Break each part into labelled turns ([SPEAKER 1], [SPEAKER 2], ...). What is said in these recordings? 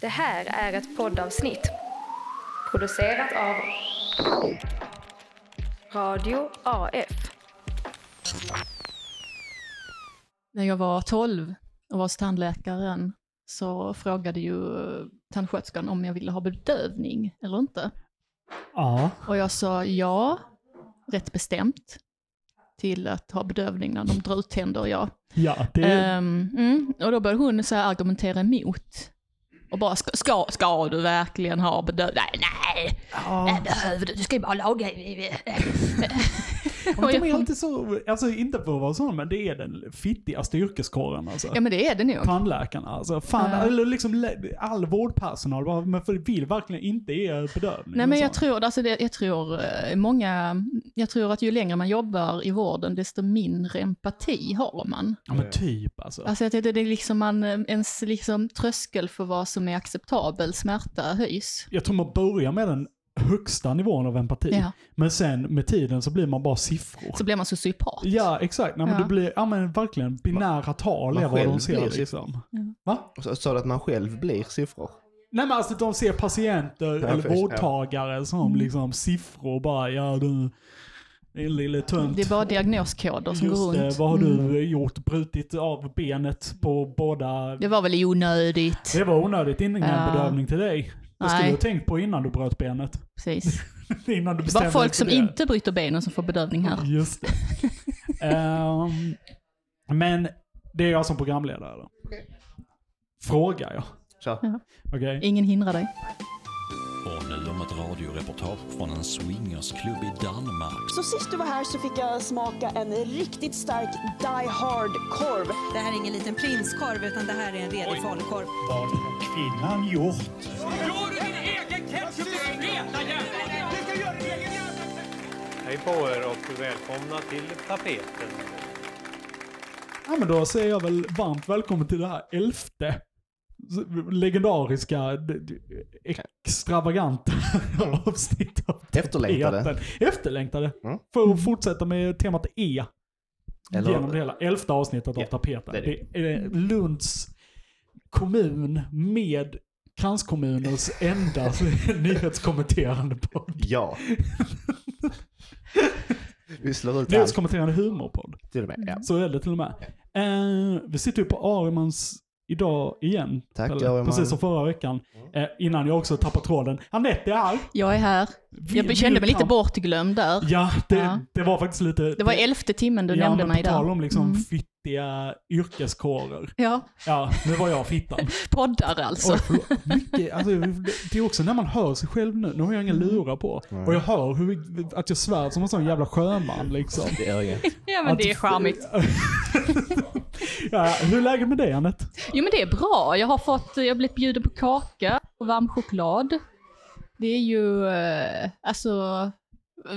[SPEAKER 1] Det här är ett poddavsnitt producerat av Radio AF.
[SPEAKER 2] När jag var 12 och var hos tandläkaren så frågade ju tandsköterskan om jag ville ha bedövning eller inte.
[SPEAKER 3] Ja.
[SPEAKER 2] Och jag sa ja, rätt bestämt, till att ha bedövning när de drar ut tänder, ja.
[SPEAKER 3] Ja, det
[SPEAKER 2] Ehm, mm, och då började hon så här argumentera emot. Och bara, ska, ska, ska du verkligen ha bedövning? Nej, nej,
[SPEAKER 3] ja.
[SPEAKER 2] Äh, det behöver du, du ska ju bara laga.
[SPEAKER 3] Men De är alltid så, alltså inte för att vara sån, men det är den fittigaste yrkeskåren alltså.
[SPEAKER 2] Ja men det är det nog.
[SPEAKER 3] Tandläkarna alltså. Fan,
[SPEAKER 2] Ja.
[SPEAKER 3] eller liksom le- all vårdpersonal bara, men för vill verkligen inte ge bedövning.
[SPEAKER 2] Nej
[SPEAKER 3] och
[SPEAKER 2] men jag
[SPEAKER 3] sånt.
[SPEAKER 2] tror, alltså det, jag tror eh, många, jag tror att ju längre man jobbar i vården desto mindre empati har man.
[SPEAKER 3] Ja men typ alltså.
[SPEAKER 2] Alltså jag tyckte det är liksom man, eh, ens liksom tröskel för vad som är acceptabel smärta höjs.
[SPEAKER 3] Jag tror man börjar med den högsta nivån av empati.
[SPEAKER 2] Ja.
[SPEAKER 3] Men sen med tiden så blir man bara siffror.
[SPEAKER 2] Så blir man sociopat.
[SPEAKER 3] Ja, exakt. Nej, men
[SPEAKER 2] Ja.
[SPEAKER 3] Det blir, ja men verkligen binära tal
[SPEAKER 4] man
[SPEAKER 3] är vad
[SPEAKER 4] själv
[SPEAKER 3] de ser
[SPEAKER 4] blir siffror.
[SPEAKER 3] liksom.
[SPEAKER 2] Ja.
[SPEAKER 3] Va?
[SPEAKER 4] Och så Sa du att man själv blir siffror?
[SPEAKER 3] Nej men alltså de ser patienter
[SPEAKER 4] Ja,
[SPEAKER 3] eller
[SPEAKER 4] först,
[SPEAKER 3] vårdtagare
[SPEAKER 2] Mm.
[SPEAKER 3] som liksom siffror bara, ja du, din lille tönt.
[SPEAKER 2] Det är bara diagnoskoder som
[SPEAKER 3] Just
[SPEAKER 2] går
[SPEAKER 3] det,
[SPEAKER 2] runt.
[SPEAKER 3] vad har du
[SPEAKER 2] Mm.
[SPEAKER 3] gjort? Brutit av benet på båda?
[SPEAKER 2] Det var väl onödigt.
[SPEAKER 3] Det var onödigt, ingen
[SPEAKER 2] Ja.
[SPEAKER 3] bedövning till dig. Det skulle
[SPEAKER 2] Nej.
[SPEAKER 3] du ha tänkt på innan du bröt benet.
[SPEAKER 2] Precis.
[SPEAKER 3] innan du
[SPEAKER 2] Det är
[SPEAKER 3] bestämde
[SPEAKER 2] bara
[SPEAKER 3] dig
[SPEAKER 2] folk
[SPEAKER 3] för
[SPEAKER 2] som
[SPEAKER 3] det.
[SPEAKER 2] inte bryter benen som får bedövning här.
[SPEAKER 3] Just det. Ehm, men det är jag som programledare då. Frågar jag.
[SPEAKER 4] Så.
[SPEAKER 3] Okej?
[SPEAKER 2] Ingen hindrar dig.
[SPEAKER 5] Och nu om ett radioreportage från en swingersklubb i Danmark.
[SPEAKER 6] Så sist du var här så fick jag smaka en riktigt stark Die Hard-korv.
[SPEAKER 7] Det här är ingen liten prinskorv utan det här är en redig falukorv.
[SPEAKER 8] kvinnan gjort?
[SPEAKER 9] Hej på er och välkomna till tapeten.
[SPEAKER 3] Ja men då säger jag väl varmt välkommen till det här elfte legendariska d- d- extravaganta avsnitt av
[SPEAKER 4] Efterlängtade.
[SPEAKER 3] tapeten. Efterlängtade.
[SPEAKER 4] Mm.
[SPEAKER 3] För att fortsätta med temat E.
[SPEAKER 4] Eller-
[SPEAKER 3] Genom det hela elfte avsnittet
[SPEAKER 4] Ja,
[SPEAKER 3] av tapeten.
[SPEAKER 4] det är
[SPEAKER 3] Det
[SPEAKER 4] det.
[SPEAKER 3] är eh, Lunds kommun med kranskommunens enda nyhetskommenterande podd.
[SPEAKER 4] Ja. Vi slår ut allt
[SPEAKER 3] Nyhetskommenterande humorpodd.
[SPEAKER 4] till och med. Ja.
[SPEAKER 3] Så är det till och med. Eh, vi sitter ju på Arimans idag igen.
[SPEAKER 4] Tack,
[SPEAKER 3] Pelle.
[SPEAKER 4] Ariman.
[SPEAKER 3] Precis som förra veckan. Eh, innan jag också tappade tråden. Anette är här.
[SPEAKER 2] Jag är här.
[SPEAKER 3] Vi-
[SPEAKER 2] Jag kände mig lite
[SPEAKER 3] vi-
[SPEAKER 2] bortglömd där.
[SPEAKER 3] Ja, det,
[SPEAKER 2] Ja.
[SPEAKER 3] det var faktiskt lite...
[SPEAKER 2] Det var elfte timmen du
[SPEAKER 3] ja,
[SPEAKER 2] nämnde
[SPEAKER 3] men
[SPEAKER 2] mig
[SPEAKER 3] på tal
[SPEAKER 2] där.
[SPEAKER 3] om liksom
[SPEAKER 2] Mm.
[SPEAKER 3] fittiga yrkeskårer.
[SPEAKER 2] Ja,
[SPEAKER 3] Ja, nu var jag fittan.
[SPEAKER 2] poddar alltså.
[SPEAKER 3] Oj, förlåt. Mycket, alltså, det är också när man hör sig själv nu. Nu har jag inga
[SPEAKER 2] Mm.
[SPEAKER 3] lurar på. Och jag hör hur, att jag svär som en sån jävla sjöman liksom.
[SPEAKER 4] Det är inget.
[SPEAKER 2] Ja men det är
[SPEAKER 3] Att-
[SPEAKER 2] charmigt.
[SPEAKER 3] ja, hur är läget med dig Anette?
[SPEAKER 2] Jo men det är bra. Jag har fått, jag har blivit bjuden på kaka och varm choklad. Det är ju, eh, alltså,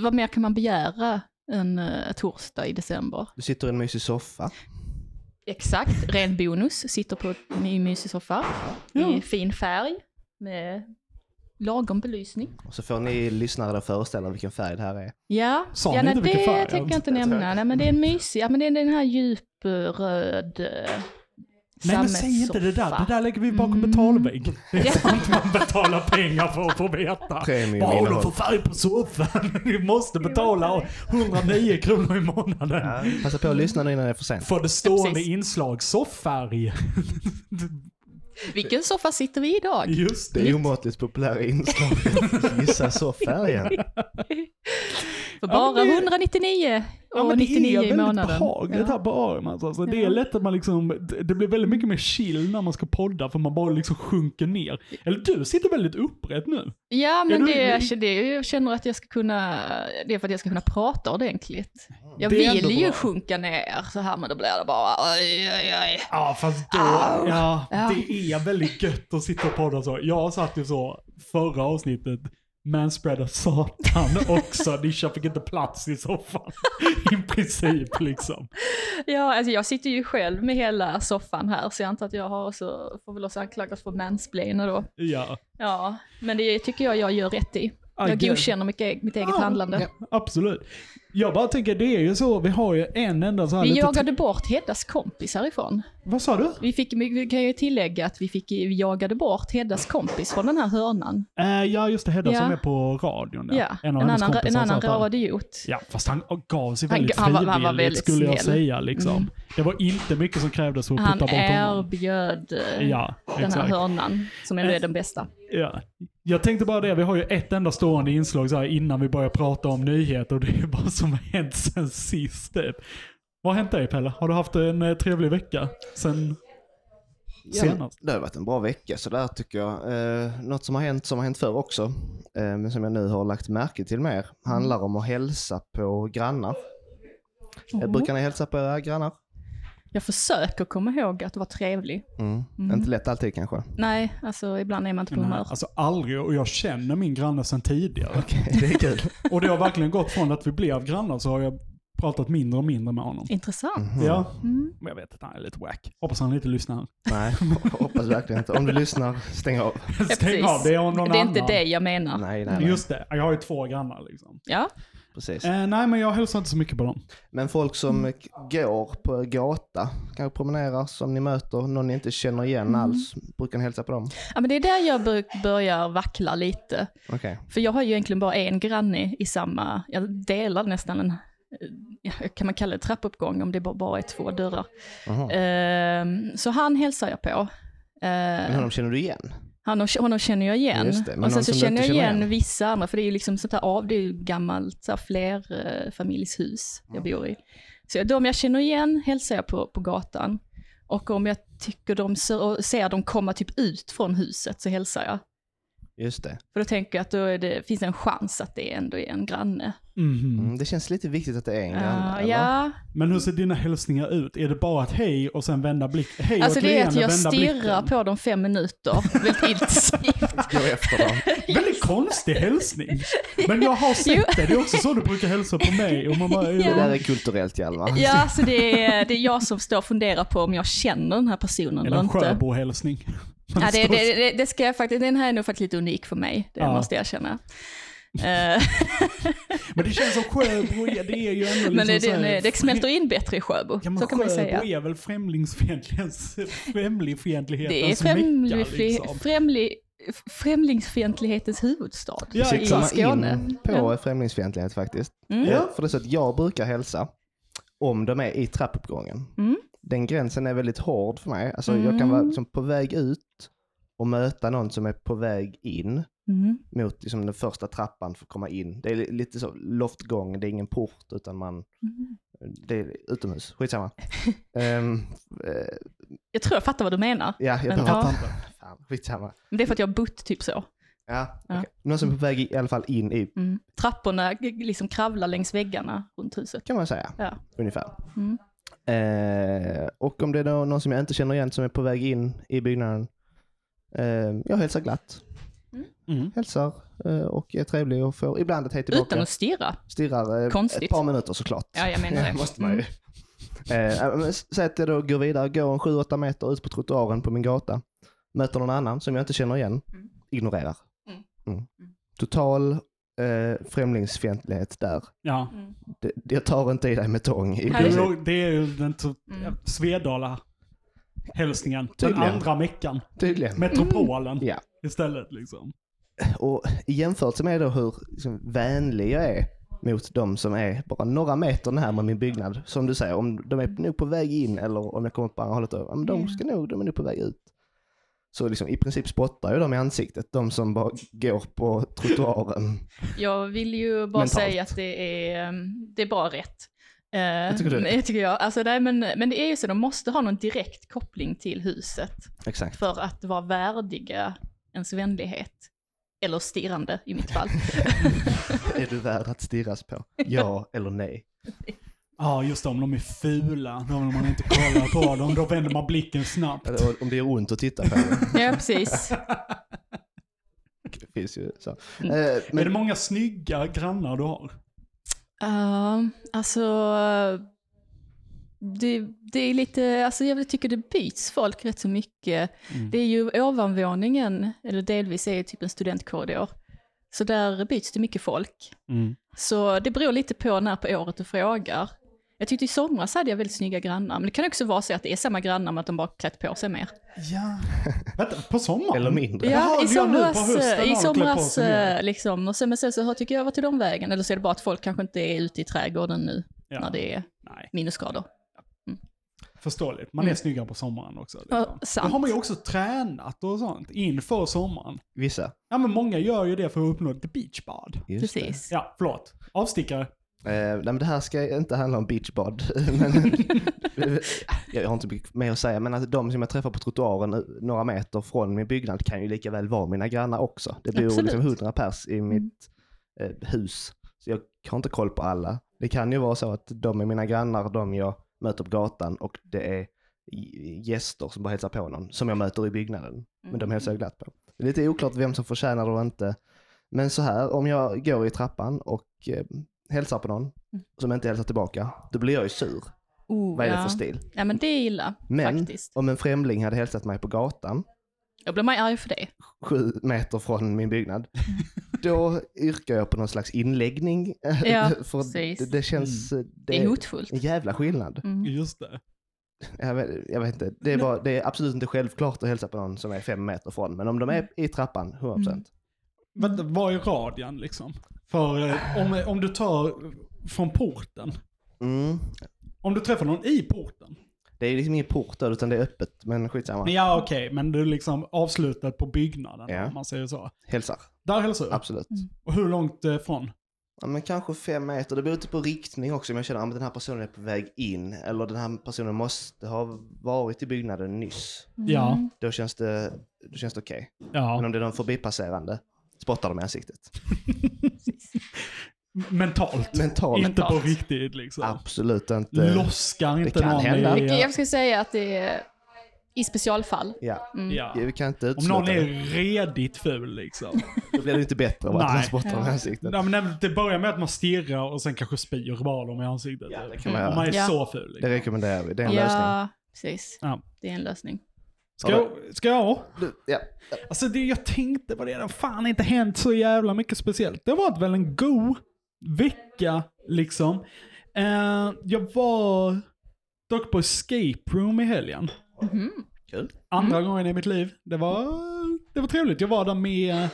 [SPEAKER 2] vad mer kan man begära en eh, torsdag i december?
[SPEAKER 4] Du sitter i en mysig soffa.
[SPEAKER 2] Exakt, ren bonus. Sitter på en mysig soffa i fin färg med lagom belysning.
[SPEAKER 4] Och så får ni lyssnare att föreställa vilken färg det här är.
[SPEAKER 2] Ja,
[SPEAKER 3] Sa
[SPEAKER 2] ja
[SPEAKER 3] ni
[SPEAKER 2] nej,
[SPEAKER 3] inte vilken
[SPEAKER 2] det
[SPEAKER 3] färg?
[SPEAKER 2] tänker jag inte nämna. Nej, men det är en mysig, ja, men det är den här djupröd eh,
[SPEAKER 3] Nej men säg inte det där, det där lägger vi bakom betalvägg. Det är sånt man betalar pengar för att få veta.
[SPEAKER 4] Premium
[SPEAKER 3] Vad har du
[SPEAKER 4] innehåll.
[SPEAKER 3] för färg på soffan? Vi måste betala 109 kronor i månaden.
[SPEAKER 4] Passa på att lyssna nu innan det är för sent.
[SPEAKER 3] För det stående
[SPEAKER 2] Precis.
[SPEAKER 3] inslag, soffärg.
[SPEAKER 2] Vilken soffa sitter vi i idag?
[SPEAKER 3] Just
[SPEAKER 4] Det är omåttligt populära inslag. Gissa soffärgen.
[SPEAKER 2] För
[SPEAKER 3] Ja,
[SPEAKER 2] bara
[SPEAKER 3] men det-
[SPEAKER 2] 199 och
[SPEAKER 3] Ja, men
[SPEAKER 2] 99
[SPEAKER 3] det är
[SPEAKER 2] i
[SPEAKER 3] väldigt
[SPEAKER 2] månaden.
[SPEAKER 3] behagligt här på Armans. Alltså. Det är
[SPEAKER 2] Ja.
[SPEAKER 3] lätt att man liksom, det- det blir väldigt mycket mer chill när man ska podda för man bara liksom sjunker ner. Eller du sitter väldigt upprätt nu.
[SPEAKER 2] Ja, men
[SPEAKER 3] du-
[SPEAKER 2] det, det, jag känner att jag ska kunna, det är för att jag ska kunna prata ordentligt. Jag
[SPEAKER 3] Det är ändå
[SPEAKER 2] vill ju
[SPEAKER 3] bra.
[SPEAKER 2] sjunka ner så här, men då blir det bara aj, aj, aj.
[SPEAKER 3] Ja, fast då,
[SPEAKER 2] Au.
[SPEAKER 3] ja,
[SPEAKER 2] Ja.
[SPEAKER 3] det är väldigt gött att sitta och podda så. Jag satt ju så förra avsnittet, manspreadar satan också. Nisha fick inte plats i soffan. I princip liksom.
[SPEAKER 2] Ja, alltså jag sitter ju själv med hela soffan här, så jag antar att jag har också, får väl också anklagas för mansplainer då.
[SPEAKER 3] Ja.
[SPEAKER 2] Ja, men det tycker jag jag gör rätt i. Jag
[SPEAKER 3] Agge-
[SPEAKER 2] godkänner mitt, e- mitt eget
[SPEAKER 3] Ja,
[SPEAKER 2] handlande.
[SPEAKER 3] Ah, ja, Absolut. Jag bara tänker, det är ju så, vi har ju en enda så här
[SPEAKER 2] Vi
[SPEAKER 3] lite...
[SPEAKER 2] jagade bort Heddas kompis härifrån.
[SPEAKER 3] Vad sa du?
[SPEAKER 2] Vi, fick, vi kan ju tillägga att vi, fick, vi jagade bort Heddas kompis från den här hörnan.
[SPEAKER 3] Eh, ja, just det, Hedda
[SPEAKER 2] Ja.
[SPEAKER 3] som är på radion. där.
[SPEAKER 2] Ja, en,
[SPEAKER 3] hennes
[SPEAKER 2] annan,
[SPEAKER 3] kompisar
[SPEAKER 2] en
[SPEAKER 3] sa
[SPEAKER 2] annan
[SPEAKER 3] att han-
[SPEAKER 2] radiot.
[SPEAKER 3] Ja, fast han gav sig
[SPEAKER 2] Han-
[SPEAKER 3] väldigt
[SPEAKER 2] han var- han
[SPEAKER 3] frivilligt
[SPEAKER 2] var väldigt
[SPEAKER 3] skulle jag
[SPEAKER 2] snäll.
[SPEAKER 3] säga. Liksom.
[SPEAKER 2] Mm.
[SPEAKER 3] Det var inte mycket som krävdes för att
[SPEAKER 2] Han
[SPEAKER 3] putta bort honom.
[SPEAKER 2] erbjöd eh,
[SPEAKER 3] Ja,
[SPEAKER 2] den här
[SPEAKER 3] exakt.
[SPEAKER 2] hörnan, som ändå är den bästa.
[SPEAKER 3] Ja. Jag tänkte bara det, vi har ju ett enda stående inslag så här innan vi börjar prata om nyheter och det är ju vad som har hänt sen sist typ. Vad har hänt dig Pelle? Har du haft en eh, trevlig vecka sen senast?
[SPEAKER 4] Det har varit en bra vecka sådär tycker jag. Eh, något som har hänt, som har hänt förr också, eh, men som jag nu har lagt märke till mer, handlar om att hälsa på grannar.
[SPEAKER 3] Mm.
[SPEAKER 4] Eh, brukar ni hälsa på era grannar?
[SPEAKER 2] Jag försöker komma ihåg att vara trevlig.
[SPEAKER 4] Mm. Inte lätt alltid kanske.
[SPEAKER 2] Nej, alltså ibland är man inte på
[SPEAKER 3] Nej,
[SPEAKER 2] humör.
[SPEAKER 3] alltså aldrig och jag känner min granne sen tidigare.
[SPEAKER 4] det är kul.
[SPEAKER 3] Och det har verkligen gått från att vi blev grannar så har jag pratat mindre och mindre med honom.
[SPEAKER 2] Intressant.
[SPEAKER 4] Mm.
[SPEAKER 3] Ja,
[SPEAKER 2] Mm.
[SPEAKER 3] men jag vet att han är lite wack. Hoppas han inte lyssnar.
[SPEAKER 4] Nej, hoppas verkligen inte. Om du lyssnar, stäng av.
[SPEAKER 2] Ja,
[SPEAKER 3] Stäng
[SPEAKER 2] precis.
[SPEAKER 3] av, det är om någon
[SPEAKER 2] det är
[SPEAKER 3] annan.
[SPEAKER 2] inte det jag menar.
[SPEAKER 4] Nej, nej, nej.
[SPEAKER 3] Just det, jag har ju två grannar liksom.
[SPEAKER 2] Ja,
[SPEAKER 4] Precis.
[SPEAKER 3] Eh, nej, men jag hälsar inte så mycket på dem.
[SPEAKER 4] Men folk som k- går på gata, kanske promenerar, som ni möter, någon ni inte känner igen
[SPEAKER 3] Mm.
[SPEAKER 4] alls, brukar ni hälsa på dem?
[SPEAKER 2] ja men det är där jag bör- börjar vackla lite.
[SPEAKER 4] Okej.
[SPEAKER 2] För jag har ju egentligen bara en granne i samma, jag delar nästan en, eh, ja, kan man kalla det trappuppgång om det bara- bara är två dörrar.
[SPEAKER 4] Jaha.
[SPEAKER 2] Ehm, så han hälsar jag på. Ehm,
[SPEAKER 4] Men honom känner du igen?
[SPEAKER 2] honom, honom känner jag igen.
[SPEAKER 4] Just det, men
[SPEAKER 2] och
[SPEAKER 4] någon
[SPEAKER 2] sen så
[SPEAKER 4] som du
[SPEAKER 2] känner
[SPEAKER 4] inte
[SPEAKER 2] jag
[SPEAKER 4] känner
[SPEAKER 2] igen
[SPEAKER 4] igen.
[SPEAKER 2] vissa andra, för det är ju liksom sånt här av, det är ju gammalt så här, flerfamiljshus jag bor i. Så de jag känner igen hälsar jag på, på gatan. Och om jag tycker de ser, och ser dem komma typ ut från huset så hälsar jag.
[SPEAKER 4] Just det.
[SPEAKER 2] För då tänker jag att då är det, finns det en chans att det ändå är en granne.
[SPEAKER 3] Mhm.
[SPEAKER 4] Mm, det känns lite viktigt att det är en
[SPEAKER 2] Ah,
[SPEAKER 4] granne, eller?
[SPEAKER 2] ja,
[SPEAKER 3] Men hur ser dina hälsningar ut? Är det bara ett hej och sen vända blick? Hej
[SPEAKER 2] alltså
[SPEAKER 3] och
[SPEAKER 2] det är att
[SPEAKER 3] leende,
[SPEAKER 2] jag
[SPEAKER 3] vända
[SPEAKER 2] stirrar
[SPEAKER 3] blicken.
[SPEAKER 2] på dem fem minuter väldigt intensivt.
[SPEAKER 4] Gå efter dem.
[SPEAKER 3] Väldigt konstig hälsning. Men jag har sett det, det är också så du brukar hälsa på mig. Och man bara,
[SPEAKER 4] Det där
[SPEAKER 3] ja.
[SPEAKER 4] är kulturellt Hjalmar.
[SPEAKER 2] Ja, så det är, det är jag som står och funderar på om jag känner den här personen eller
[SPEAKER 3] Eller en
[SPEAKER 2] inte.
[SPEAKER 3] Sjöbo-hälsning.
[SPEAKER 2] Ja, det, det, det, det ska jag faktiskt, den här är nog faktiskt lite unik för mig, det
[SPEAKER 3] Ja.
[SPEAKER 2] måste jag erkänna. Eh,
[SPEAKER 3] Men det känns som Sjöbo, ja, det är ju ändå liksom
[SPEAKER 2] men det,
[SPEAKER 3] så här-
[SPEAKER 2] det, det smälter in bättre i Sjöbo,
[SPEAKER 3] Ja, men
[SPEAKER 2] så kan man ju
[SPEAKER 3] Sjöbo
[SPEAKER 2] säga.
[SPEAKER 3] är väl främlingsfientlighetens,
[SPEAKER 2] Det är
[SPEAKER 3] främlingfientlighetens mecka
[SPEAKER 2] främlig,
[SPEAKER 3] liksom.
[SPEAKER 2] främlig, främlingsfientlighetens huvudstad
[SPEAKER 3] Ja,
[SPEAKER 2] i
[SPEAKER 3] exakt.
[SPEAKER 2] Skåne.
[SPEAKER 4] in på främlingsfientlighet faktiskt.
[SPEAKER 2] Mm.
[SPEAKER 4] Eh, För det är så att jag brukar hälsa om de är i trappuppgången.
[SPEAKER 2] Mm.
[SPEAKER 4] Den gränsen är väldigt hård för mig. Alltså, Jag
[SPEAKER 2] Mm.
[SPEAKER 4] kan vara liksom, på väg ut och möta någon som är på väg in
[SPEAKER 2] Mm.
[SPEAKER 4] mot liksom, den första trappan för att komma in. Det är li- lite så loftgång, det är ingen port utan man...
[SPEAKER 2] Mm.
[SPEAKER 4] Det är utomhus, skitsamma. Ehm, eh,
[SPEAKER 2] Jag tror jag fattar vad du menar.
[SPEAKER 4] ja, jag
[SPEAKER 2] Men,
[SPEAKER 4] behöver
[SPEAKER 2] ja.
[SPEAKER 4] inte. Fan, skitsamma.
[SPEAKER 2] Men det är för att jag har bott typ så.
[SPEAKER 4] Ja,
[SPEAKER 2] Ja.
[SPEAKER 4] okej. Någon som är på väg i, i alla fall in i,
[SPEAKER 2] Mm. Trapporna g- liksom kravlar längs väggarna runt huset.
[SPEAKER 4] kan man säga,
[SPEAKER 2] Ja.
[SPEAKER 4] ungefär.
[SPEAKER 2] Mm.
[SPEAKER 4] Eh, och om det är då någon som jag inte känner igen som är på väg in i byggnaden, eh, jag hälsar glatt.
[SPEAKER 3] Mm.
[SPEAKER 4] Hälsar eh, och är trevlig och får ibland ett hej tillbaka.
[SPEAKER 2] Utan att stirra.
[SPEAKER 4] Stirrar eh,
[SPEAKER 2] Konstigt.
[SPEAKER 4] ett par minuter såklart.
[SPEAKER 2] Ja, jag menar det.
[SPEAKER 4] måste man ju. Eh, men s- Säg att jag då går vidare, går en 7-8 meter ut på trottoaren på min gata, möter någon annan som jag inte känner igen, ignorerar.
[SPEAKER 2] Mm.
[SPEAKER 4] Mm. Total eh, främlingsfientlighet där.
[SPEAKER 3] Ja.
[SPEAKER 4] Det- det- Jag tar inte i dig med tång.
[SPEAKER 2] Här är-
[SPEAKER 4] I
[SPEAKER 2] Mm.
[SPEAKER 4] princip.
[SPEAKER 3] Jo, det är ju den to- Svedala hälsningen. Den
[SPEAKER 4] Tydligen.
[SPEAKER 3] andra meckan.
[SPEAKER 4] Tydligen.
[SPEAKER 3] Metropolen
[SPEAKER 4] Mm. Ja.
[SPEAKER 3] istället liksom.
[SPEAKER 4] Och i jämförelse med då hur liksom, vänlig jag är mot de som är bara några meter närmare min byggnad, som du säger, om de är nog på väg in eller om jag kommer på andra hållet, då, ja, men de ska nog, de är nog på väg ut. Så liksom, i princip spottar jag dem i ansiktet, de som bara går på trottoaren.
[SPEAKER 2] Jag vill ju bara
[SPEAKER 4] Mentalt.
[SPEAKER 2] säga att det är, ehm, det är bara rätt. Eh, Jag
[SPEAKER 4] tycker du?
[SPEAKER 2] Det tycker jag. Alltså, nej, men, men det är ju så, de måste ha någon direkt koppling till huset
[SPEAKER 4] Exakt.
[SPEAKER 2] för att vara värdiga ens vänlighet. Eller stirrande i mitt fall.
[SPEAKER 4] Är du värd att stirras på? Ja eller nej?
[SPEAKER 3] Ja, just det, om de är fula, då vill man inte kolla på dem, då vänder man blicken snabbt.
[SPEAKER 4] Eller Alltså, om det gör ont att titta på.
[SPEAKER 2] ja, precis.
[SPEAKER 4] Det finns ju så. Eh,
[SPEAKER 3] Men... Är det
[SPEAKER 4] Men
[SPEAKER 3] många snygga grannar du har?
[SPEAKER 2] Ja, alltså... Det, det är lite, alltså jag tycker det byts folk rätt så
[SPEAKER 3] Mm.
[SPEAKER 2] mycket. Det är ju ovanvåningen, eller delvis är det typ en studentkorridor, Så där byts det mycket folk.
[SPEAKER 3] Mm.
[SPEAKER 2] Så det beror lite på när på året du frågar. Jag tyckte i somras hade jag väldigt snygga grannar, men det kan också vara så att det är samma grannar men att de bara klätt på sig mer.
[SPEAKER 3] Ja. Vänta, på sommaren?
[SPEAKER 4] Eller mindre.
[SPEAKER 3] Jaha,
[SPEAKER 2] Ja, i
[SPEAKER 3] vi har nu på
[SPEAKER 2] somras,
[SPEAKER 3] hösten har
[SPEAKER 2] i
[SPEAKER 3] de klätt på
[SPEAKER 2] somras
[SPEAKER 3] sig mer.
[SPEAKER 2] eh, liksom. Och sen, men sen så hör- tycker jag, vad tog de vägen? Eller så är det bara att folk kanske inte är ute i trädgården nu
[SPEAKER 3] Ja.
[SPEAKER 2] när det är
[SPEAKER 3] Nej,
[SPEAKER 2] minusgrader.
[SPEAKER 3] förståeligt. Man är snyggare på sommaren också. Liksom. Då
[SPEAKER 2] Mm. sant.
[SPEAKER 3] har man ju också tränat och sånt inför sommaren.
[SPEAKER 4] Vissa.
[SPEAKER 3] Ja, men många gör ju det för att uppnå the beach bad.
[SPEAKER 4] Just det.
[SPEAKER 2] Precis.
[SPEAKER 3] Ja, förlåt. Avstickare.
[SPEAKER 4] Eh, nej, men det här ska inte handla om beachbad. men, jag har inte mycket mer att säga, men alltså, de som jag träffar på trottoaren eh, några meter från min byggnad kan ju lika väl vara mina grannar också. Det bor
[SPEAKER 2] Absolut.
[SPEAKER 4] liksom hundra pers i mitt eh, hus. Så jag har inte koll på alla. Det kan ju vara så att de är mina grannar, de jag möter på gatan och det är i- gäster som bara hälsar på någon, som jag möter i byggnaden. Men de hälsar jag glatt på. Det är lite oklart vem som förtjänar det och inte. Men så här, om jag går i trappan och eh, hälsar på någon
[SPEAKER 2] Mm.
[SPEAKER 4] som inte hälsar tillbaka, då blir jag ju sur.
[SPEAKER 2] Oh,
[SPEAKER 4] Vad är det
[SPEAKER 2] ja.
[SPEAKER 4] för stil?
[SPEAKER 2] Ja, men det är illa
[SPEAKER 4] Men
[SPEAKER 2] faktiskt.
[SPEAKER 4] om en främling hade hälsat mig på gatan,
[SPEAKER 2] Jag blir man arg för det.
[SPEAKER 4] sju meter från min byggnad, då yrkar jag på någon slags inläggning.
[SPEAKER 2] Mm. Ja,
[SPEAKER 4] för
[SPEAKER 2] precis.
[SPEAKER 4] det, det känns...
[SPEAKER 2] Det är hotfullt.
[SPEAKER 4] en jävla skillnad.
[SPEAKER 2] Mm.
[SPEAKER 3] Just det.
[SPEAKER 4] Jag vet, jag vet inte. Det är, bara, det är absolut inte självklart att hälsa på någon som är fem meter från, men om de
[SPEAKER 2] Mm.
[SPEAKER 4] är i trappan, 100%.
[SPEAKER 3] Vänta, vad är radien liksom? För eh, om, om du tar från porten.
[SPEAKER 4] Mm.
[SPEAKER 3] Om du träffar någon i porten.
[SPEAKER 4] Det är liksom ingen port där, utan det är öppet, men skitsamma.
[SPEAKER 3] Ja, okej, men du är liksom avslutad på byggnaden
[SPEAKER 4] Ja.
[SPEAKER 3] om man säger så.
[SPEAKER 4] Hälsar,
[SPEAKER 3] Där hälsar du.
[SPEAKER 4] absolut.
[SPEAKER 2] Mm.
[SPEAKER 3] Och hur långt eh, från?
[SPEAKER 4] Ja, men kanske fem meter. Det beror lite på riktning också. Om jag känner att den här personen är på väg in eller den här personen måste ha varit i byggnaden nyss.
[SPEAKER 3] Ja.
[SPEAKER 4] Då känns det, då känns det okej. Men
[SPEAKER 3] ja.
[SPEAKER 4] om det är någon förbipasserande, spottar de i ansiktet.
[SPEAKER 3] Mentalt.
[SPEAKER 4] Mentalt.
[SPEAKER 3] Inte
[SPEAKER 2] Mentalt.
[SPEAKER 3] på riktigt liksom.
[SPEAKER 4] Absolut inte.
[SPEAKER 3] Loska inte
[SPEAKER 4] kan
[SPEAKER 3] någon
[SPEAKER 4] hända.
[SPEAKER 3] i...
[SPEAKER 2] Jag skulle säga att det är i specialfall.
[SPEAKER 4] Ja.
[SPEAKER 2] Mm.
[SPEAKER 3] Ja.
[SPEAKER 4] Vi kan inte
[SPEAKER 3] Om
[SPEAKER 4] utesluta
[SPEAKER 3] någon är
[SPEAKER 4] det.
[SPEAKER 3] redigt ful liksom.
[SPEAKER 4] Då blir det inte bättre av att
[SPEAKER 3] Nej.
[SPEAKER 4] man spottar dem i ansiktet.
[SPEAKER 3] Nej, men när- det börjar med att man stirrar och sen kanske spyr bara dem i ansiktet.
[SPEAKER 4] Ja, det kan man
[SPEAKER 3] man Om
[SPEAKER 4] göra.
[SPEAKER 3] man är
[SPEAKER 2] Ja.
[SPEAKER 3] så ful.
[SPEAKER 4] Det
[SPEAKER 3] Liksom.
[SPEAKER 4] rekommenderar vi. Det är en lösning.
[SPEAKER 2] Ja, precis.
[SPEAKER 3] Ja.
[SPEAKER 2] Det är en lösning.
[SPEAKER 3] Ska, jag, ska jag?
[SPEAKER 4] Du, ja.
[SPEAKER 3] Alltså det jag tänkte var det har fan inte hänt så jävla mycket speciellt. Det var väl en god vecka liksom. Eh, jag var dock på escape room i helgen.
[SPEAKER 4] Kul.
[SPEAKER 3] Andra
[SPEAKER 4] Mm.
[SPEAKER 3] gången i mitt liv. Det var, det var trevligt. Jag var där med eh,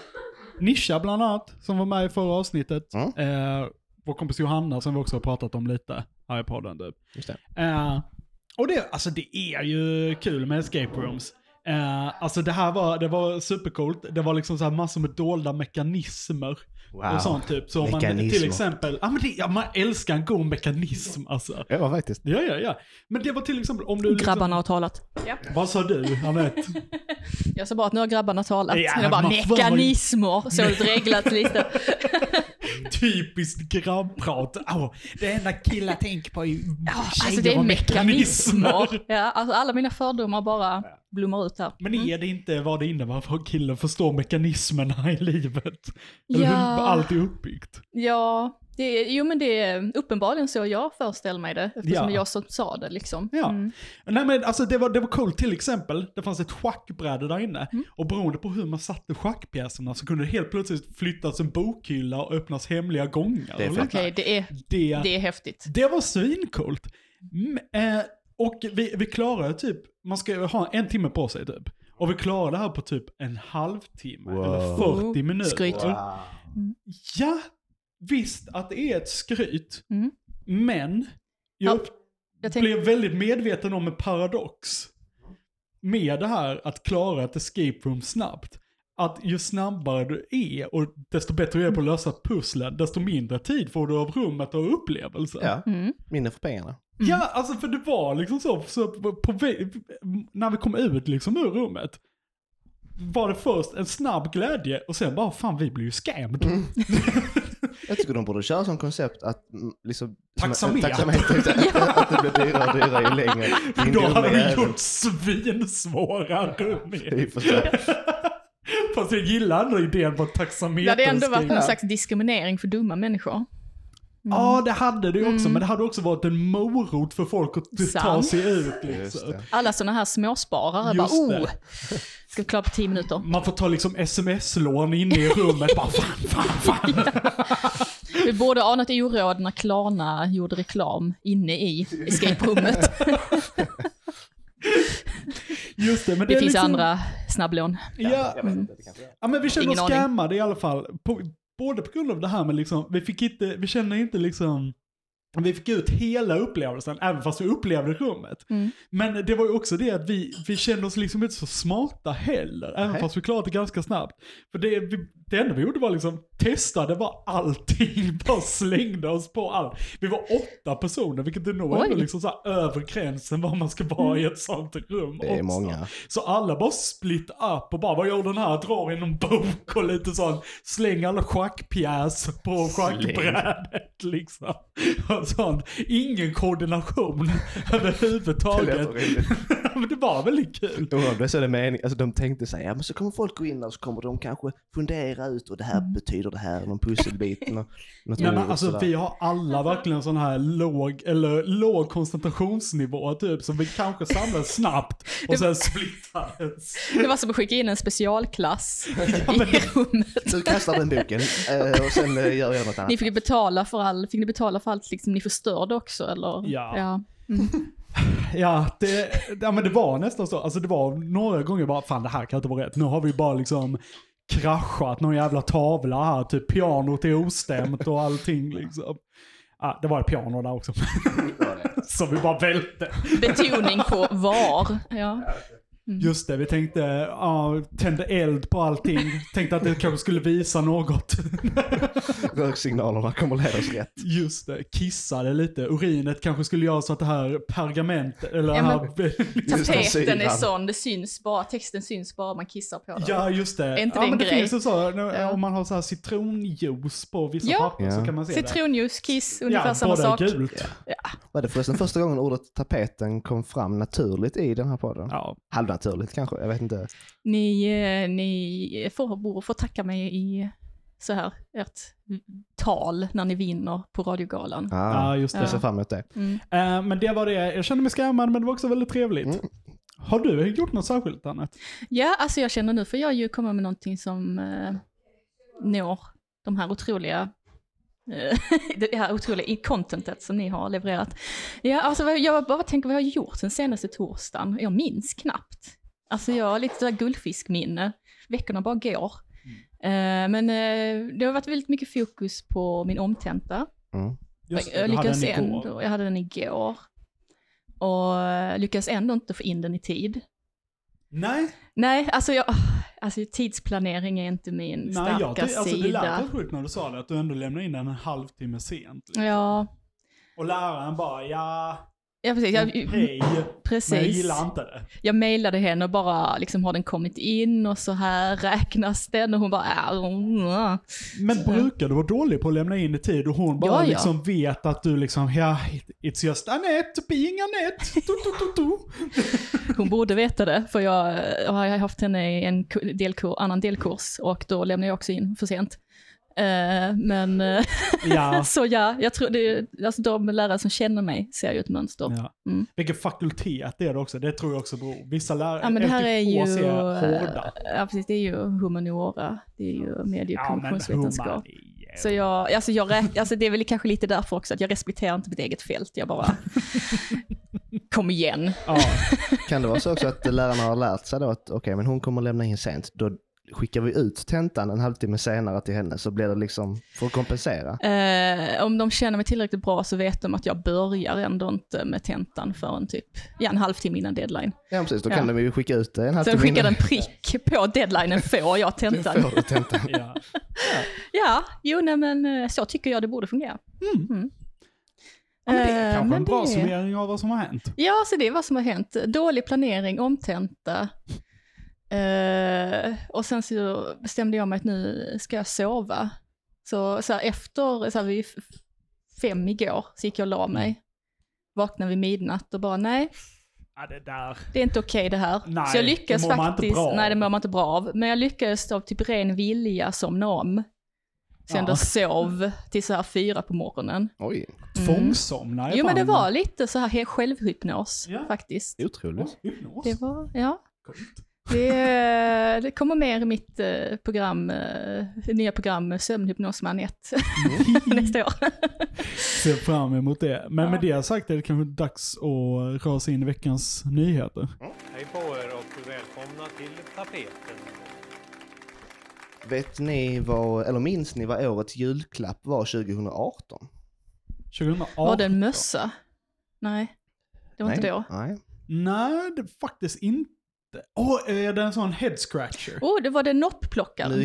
[SPEAKER 3] Nisha bland annat, som var med i förra avsnittet.
[SPEAKER 4] Mm.
[SPEAKER 3] Eh, vår kompis Johanna som vi också har pratat om lite här i podden. Typ.
[SPEAKER 4] Just det.
[SPEAKER 3] Eh, och det, alltså det är ju kul med escape rooms. Eh, alltså det här var, det var supercoolt. Det var liksom så här massor med dolda mekanismer.
[SPEAKER 4] Wow.
[SPEAKER 3] Och sånt typ. Så om man till
[SPEAKER 4] Mekanismer.
[SPEAKER 3] exempel, ja, men det, ja, man älskar en god mekanism alltså.
[SPEAKER 4] Ja, faktiskt.
[SPEAKER 3] Ja, ja, ja. Men det var till exempel om du... Liksom,
[SPEAKER 2] Grabbarna har talat.
[SPEAKER 3] vad sa du, Anette?
[SPEAKER 2] Jag sa bara att nu har grabbarna talat.
[SPEAKER 3] Ja,
[SPEAKER 2] jag bara,
[SPEAKER 3] men fan vad-
[SPEAKER 2] mekanismer. Så det reglat lite.
[SPEAKER 3] Typiskt grabbprat. Åh, det enda killar tänker på är ju
[SPEAKER 2] Ja, alltså
[SPEAKER 3] tjejer
[SPEAKER 2] det är
[SPEAKER 3] och
[SPEAKER 2] mekanismer. Ja, alltså alla mina fördomar bara blommar ut här.
[SPEAKER 3] Men är det inte vad det innebär för en kille att förstå mekanismerna i livet? Eller
[SPEAKER 2] Ja.
[SPEAKER 3] hur allt är uppbyggt?
[SPEAKER 2] Ja, det är, jo men det är uppenbarligen så jag föreställer mig det. Eftersom
[SPEAKER 3] Ja.
[SPEAKER 2] jag som sa det liksom.
[SPEAKER 3] Ja. Nej men alltså det var, det var coolt till exempel, det fanns ett schackbräde där inne.
[SPEAKER 2] Mm.
[SPEAKER 3] Och beroende på hur man satte schackpjäserna så kunde det helt plötsligt flyttas en bokhylla och öppnas hemliga gångar.
[SPEAKER 4] Det är
[SPEAKER 3] och
[SPEAKER 4] fett.
[SPEAKER 2] Okej,
[SPEAKER 3] liknande.
[SPEAKER 2] det, är,
[SPEAKER 3] det,
[SPEAKER 2] det är häftigt.
[SPEAKER 3] det var svincoolt. Mm, eh, och vi, vi klarade typ, man ska ju ha en timme på sig typ. Och vi klarade det här på typ en halvtimme
[SPEAKER 4] Wow.
[SPEAKER 3] eller 40 minuter.
[SPEAKER 2] Skryt.
[SPEAKER 3] Ja, visst att det är ett skryt.
[SPEAKER 2] Mm.
[SPEAKER 3] Men jag
[SPEAKER 2] Ja, Jag tänkte,
[SPEAKER 3] blev väldigt medveten om en paradox med det här att klara ett escape room snabbt. Att ju snabbare du är och desto bättre du är på att lösa pusslen, desto mindre tid får du av rummet och upplevelsen.
[SPEAKER 4] Ja,
[SPEAKER 2] Mm.
[SPEAKER 4] mindre för pengarna.
[SPEAKER 3] Ja, alltså för det var liksom så, så på, på, vä- när vi kom ut liksom ur rummet var det först en snabb glädje och sen bara fan vi blir ju scammed.
[SPEAKER 4] Mm. Jag tycker de borde köra som koncept att mm, liksom...
[SPEAKER 3] Taxameter.
[SPEAKER 4] Taxameter, exakt. Att det blir dyrare och dyrare ju längre. Din
[SPEAKER 3] Då
[SPEAKER 4] gode
[SPEAKER 3] hade vi
[SPEAKER 4] jävel.
[SPEAKER 3] gjort svinsvåra rum. i.
[SPEAKER 4] I och för sig.
[SPEAKER 3] Fast jag gillar ändå idén på taxameter.
[SPEAKER 2] det hade ändå varit någon slags diskriminering för dumma människor.
[SPEAKER 3] Ja, det hade det ju också, men det hade också varit en morot för folk att ta
[SPEAKER 2] Mm. Sant.
[SPEAKER 3] sig ut.
[SPEAKER 4] Just
[SPEAKER 3] Liksom.
[SPEAKER 4] det.
[SPEAKER 2] Alla sådana här småsparare
[SPEAKER 3] Just
[SPEAKER 2] bara,
[SPEAKER 3] det.
[SPEAKER 2] oh, ska vi klara på 10 minuter.
[SPEAKER 3] Man får ta liksom sms-lån inne i rummet. bara, fan, fan, fan.
[SPEAKER 2] Vi borde anat oråd när Klarna gjorde reklam inne i escape rummet.
[SPEAKER 3] Just det, men det,
[SPEAKER 2] Det
[SPEAKER 3] är
[SPEAKER 2] finns
[SPEAKER 3] liksom,
[SPEAKER 2] andra snabblån.
[SPEAKER 3] Ja, mm. ja, men vi känner
[SPEAKER 2] Ingen
[SPEAKER 3] oss
[SPEAKER 2] aning.
[SPEAKER 3] scammade i alla fall. På, både på grund av det här med liksom, vi fick inte, vi känner inte liksom, vi fick ut hela upplevelsen, även fast vi upplevde rummet.
[SPEAKER 2] Mm.
[SPEAKER 3] Men det var ju också det att vi, vi kände oss liksom inte så smarta heller, även fast vi klarade det ganska snabbt. För det, vi, det enda vi gjorde var liksom, testade var allting, bara slängde oss på allt. Vi var åtta personer, vilket är nog
[SPEAKER 2] Oj. Mm.
[SPEAKER 3] ändå liksom så här över gränsen vad man ska vara i ett sånt rum
[SPEAKER 4] Det är
[SPEAKER 3] också.
[SPEAKER 4] många.
[SPEAKER 3] Så alla bara split upp och bara, vad gör den här? Drar i någon bok och lite sånt. Släng alla schackpjäser på schackbrädet liksom. Och sånt. Ingen koordination
[SPEAKER 4] Det låter
[SPEAKER 3] överhuvudtaget.
[SPEAKER 4] rimligt.
[SPEAKER 3] Men det var väldigt kul.
[SPEAKER 4] Oavsett så är det meningen. Alltså de tänkte sig, ja men så kommer folk gå in där och så kommer de kanske fundera ut och det här betyder det här, någon pusselbit, nå- något
[SPEAKER 3] Nej,
[SPEAKER 4] ord
[SPEAKER 3] men
[SPEAKER 4] och
[SPEAKER 3] alltså,
[SPEAKER 4] sådär.
[SPEAKER 3] vi har alla verkligen sån här låg, eller låg koncentrationsnivå typ, som vi kanske samlas snabbt och sen splittades.
[SPEAKER 2] Det var som att skicka in en specialklass i rummet.
[SPEAKER 4] Du kastar den boken eh, och sen eh, gör jag något annat.
[SPEAKER 2] Ni fick ju betala för allt, fick ni betala för allt liksom ni förstörde också eller?
[SPEAKER 3] Ja. Ja, det, ja, men det var nästan så. Alltså det var några gånger bara, fan det här kan inte vara rätt. Nu har vi bara liksom kraschat någon jävla tavla här, typ pianot är ostämt och allting liksom. Ja, det var ett piano där också. Som vi bara välte.
[SPEAKER 2] Betoning på var. Ja. Mm.
[SPEAKER 3] Just det, vi tänkte, ja, tände eld på allting. Tänkte att det kanske skulle visa något.
[SPEAKER 4] Röksignalerna kommer leda oss rätt.
[SPEAKER 3] Just det, kissade lite. Urinet kanske skulle göra så att det här pergament, eller
[SPEAKER 2] Ja,
[SPEAKER 3] ja,
[SPEAKER 2] men-
[SPEAKER 3] här...
[SPEAKER 4] Just den
[SPEAKER 2] Tapeten är
[SPEAKER 4] syran.
[SPEAKER 2] sån, det syns bara, texten syns bara man kissar på den.
[SPEAKER 3] Ja, just det.
[SPEAKER 2] Är inte
[SPEAKER 3] ja,
[SPEAKER 2] det en
[SPEAKER 3] men det
[SPEAKER 2] grej?
[SPEAKER 3] finns ju så, nu,
[SPEAKER 2] Ja.
[SPEAKER 3] om man har så här citronjuice på vissa
[SPEAKER 2] Ja.
[SPEAKER 3] papper så
[SPEAKER 4] Ja.
[SPEAKER 3] kan man se det.
[SPEAKER 2] Citronjuice, kiss, ungefär samma
[SPEAKER 3] båda är
[SPEAKER 2] sak.
[SPEAKER 3] gult.
[SPEAKER 4] Var det förresten första gången ordet tapeten kom fram naturligt i den här podden?
[SPEAKER 3] Ja.
[SPEAKER 4] Halvnaturligt kanske, jag vet inte.
[SPEAKER 2] Ni, eh, ni får, får tacka mig i så här, ert tal när ni vinner på radiogalan.
[SPEAKER 3] Ja,
[SPEAKER 4] Ah,
[SPEAKER 3] just det.
[SPEAKER 4] jag ser fram emot det.
[SPEAKER 3] Eh, men det var det. Jag kände mig skämmad, men det var också väldigt trevligt. Har du gjort något särskilt, Anette?
[SPEAKER 2] Ja, alltså jag känner nu får jag ju komma med någonting som eh, når de här otroliga eh, det här otroliga i- contentet som ni har levererat. Ja, alltså vad- jag bara tänker vad jag har gjort sen senaste torsdagen. Jag minns knappt. Alltså jag har lite sådär guldfiskminne. Veckorna bara går. Eh, men eh, det har varit väldigt mycket fokus på min omtenta.
[SPEAKER 3] Just det,
[SPEAKER 2] jag
[SPEAKER 3] du hade
[SPEAKER 2] lyckades
[SPEAKER 3] en igår.
[SPEAKER 2] ändå, jag hade den igår. Och eh, lyckades ändå inte få in den i tid.
[SPEAKER 3] Nej,
[SPEAKER 2] Nej, alltså, jag, alltså tidsplanering är inte min
[SPEAKER 3] nej jag,
[SPEAKER 2] starka
[SPEAKER 3] ty- alltså, det
[SPEAKER 2] sida.
[SPEAKER 3] lät rätt sjukt när du sa det, att du ändå lämnade in den en halvtimme sent. liksom.
[SPEAKER 2] ja,
[SPEAKER 3] Och läraren bara, ja,
[SPEAKER 2] ja, precis. Jag,
[SPEAKER 3] Mm,
[SPEAKER 2] mm,
[SPEAKER 3] hej, men jag
[SPEAKER 2] precis.
[SPEAKER 3] gillar inte det.
[SPEAKER 2] Jag mejlade henne och bara, liksom, har den kommit in och så här räknas den? Och hon bara, äh, mm, äh.
[SPEAKER 3] Men brukar du vara dålig på att lämna in i tid och hon bara
[SPEAKER 2] Ja, ja.
[SPEAKER 3] liksom vet att du liksom, ja, it's just Anette, being Anette. Du, du, du, du.
[SPEAKER 2] hon borde veta det, för jag, jag har haft henne i en ku- delkur, annan delkurs och då lämnade jag också in för sent. Eh, men eh,
[SPEAKER 3] Ja.
[SPEAKER 2] så ja, jag tror det, alltså de lärare som känner mig ser ju ett mönster.
[SPEAKER 3] ja.
[SPEAKER 2] Mm.
[SPEAKER 3] Vilken fakultet det är det också? Det tror jag också beror. Vissa lärare,
[SPEAKER 2] Ja, men det här är ju... eh,
[SPEAKER 3] LTK ser hårda.
[SPEAKER 2] Ja, precis. Det är ju humaniora. Det är ju medie och
[SPEAKER 3] Ja, men
[SPEAKER 2] kommunikationsvetenskap.
[SPEAKER 3] humaniora.
[SPEAKER 2] Så jag, alltså jag räk, alltså det är väl kanske lite därför också att jag respekterar inte mitt eget fält. Jag bara, kom igen.
[SPEAKER 3] Ja,
[SPEAKER 4] Kan det vara så också att lärarna har lärt sig då att okej, men hon kommer lämna in sent. Då skickar vi ut tentan en halvtimme senare till henne så blir det liksom för att kompensera.
[SPEAKER 2] Eh, om de känner mig tillräckligt bra så vet de att jag börjar ändå inte med tentan förrän typ, ja en halvtimme innan deadline.
[SPEAKER 4] Ja precis, då kan
[SPEAKER 2] Ja.
[SPEAKER 4] de ju skicka ut det
[SPEAKER 3] Alltså,
[SPEAKER 4] en halvtimme
[SPEAKER 2] Sen skickar
[SPEAKER 4] innan.
[SPEAKER 2] den prick på deadlinen, får jag tentan?
[SPEAKER 4] Får du tentan.
[SPEAKER 3] ja.
[SPEAKER 2] Ja, jo nej men eh, så tycker jag det borde fungera. Mm.
[SPEAKER 3] Ja, men det är
[SPEAKER 2] Eh,
[SPEAKER 3] kanske en
[SPEAKER 2] men
[SPEAKER 3] bra
[SPEAKER 2] det-
[SPEAKER 3] summering av vad som har hänt.
[SPEAKER 2] Ja, så det är vad som har hänt. Dålig planering, omtenta. Eh, och sen så bestämde jag mig att nu ska jag sova. Så, så här, efter, så här, vid f- fem igår, så gick jag och la
[SPEAKER 3] Mm.
[SPEAKER 2] mig. Vaknade vid midnatt och bara nej,
[SPEAKER 3] Ja, det där.
[SPEAKER 2] det är inte okej det här.
[SPEAKER 3] Nej,
[SPEAKER 2] så jag lyckades
[SPEAKER 3] det mår man inte
[SPEAKER 2] faktiskt,
[SPEAKER 3] bra av.
[SPEAKER 2] nej det mår man inte bra av. Men jag lyckades av typ ren vilja somna om. sen då sov till så här fyra på morgonen.
[SPEAKER 4] Oj,
[SPEAKER 3] Tvångsomna är
[SPEAKER 2] Mm. Jo men det
[SPEAKER 3] fan-
[SPEAKER 2] var lite så här he- självhypnos
[SPEAKER 3] Ja.
[SPEAKER 2] faktiskt.
[SPEAKER 4] otroligt.
[SPEAKER 3] Hypnos.
[SPEAKER 2] Det var, ja.
[SPEAKER 3] Coolt.
[SPEAKER 2] Det, eh, det kommer mer i mitt eh, program, eh, nya program Sömnhypnos med Anette
[SPEAKER 3] Mm.
[SPEAKER 2] nästa år.
[SPEAKER 3] Ser fram emot det. Men med det sagt är det kanske dags att rasa in i veckans nyheter.
[SPEAKER 9] Hej på er och välkomna till tapeten.
[SPEAKER 4] Vet ni vad, eller minns ni vad årets julklapp var 2018?
[SPEAKER 3] 2018.
[SPEAKER 2] Var det en mössa? Nej, det var
[SPEAKER 4] Nej.
[SPEAKER 2] inte då.
[SPEAKER 4] Nej.
[SPEAKER 3] Nej, det faktiskt inte. Åh, är det en sån head scratcher?
[SPEAKER 2] Oh, det var det
[SPEAKER 4] Nu,
[SPEAKER 2] noppplockaren.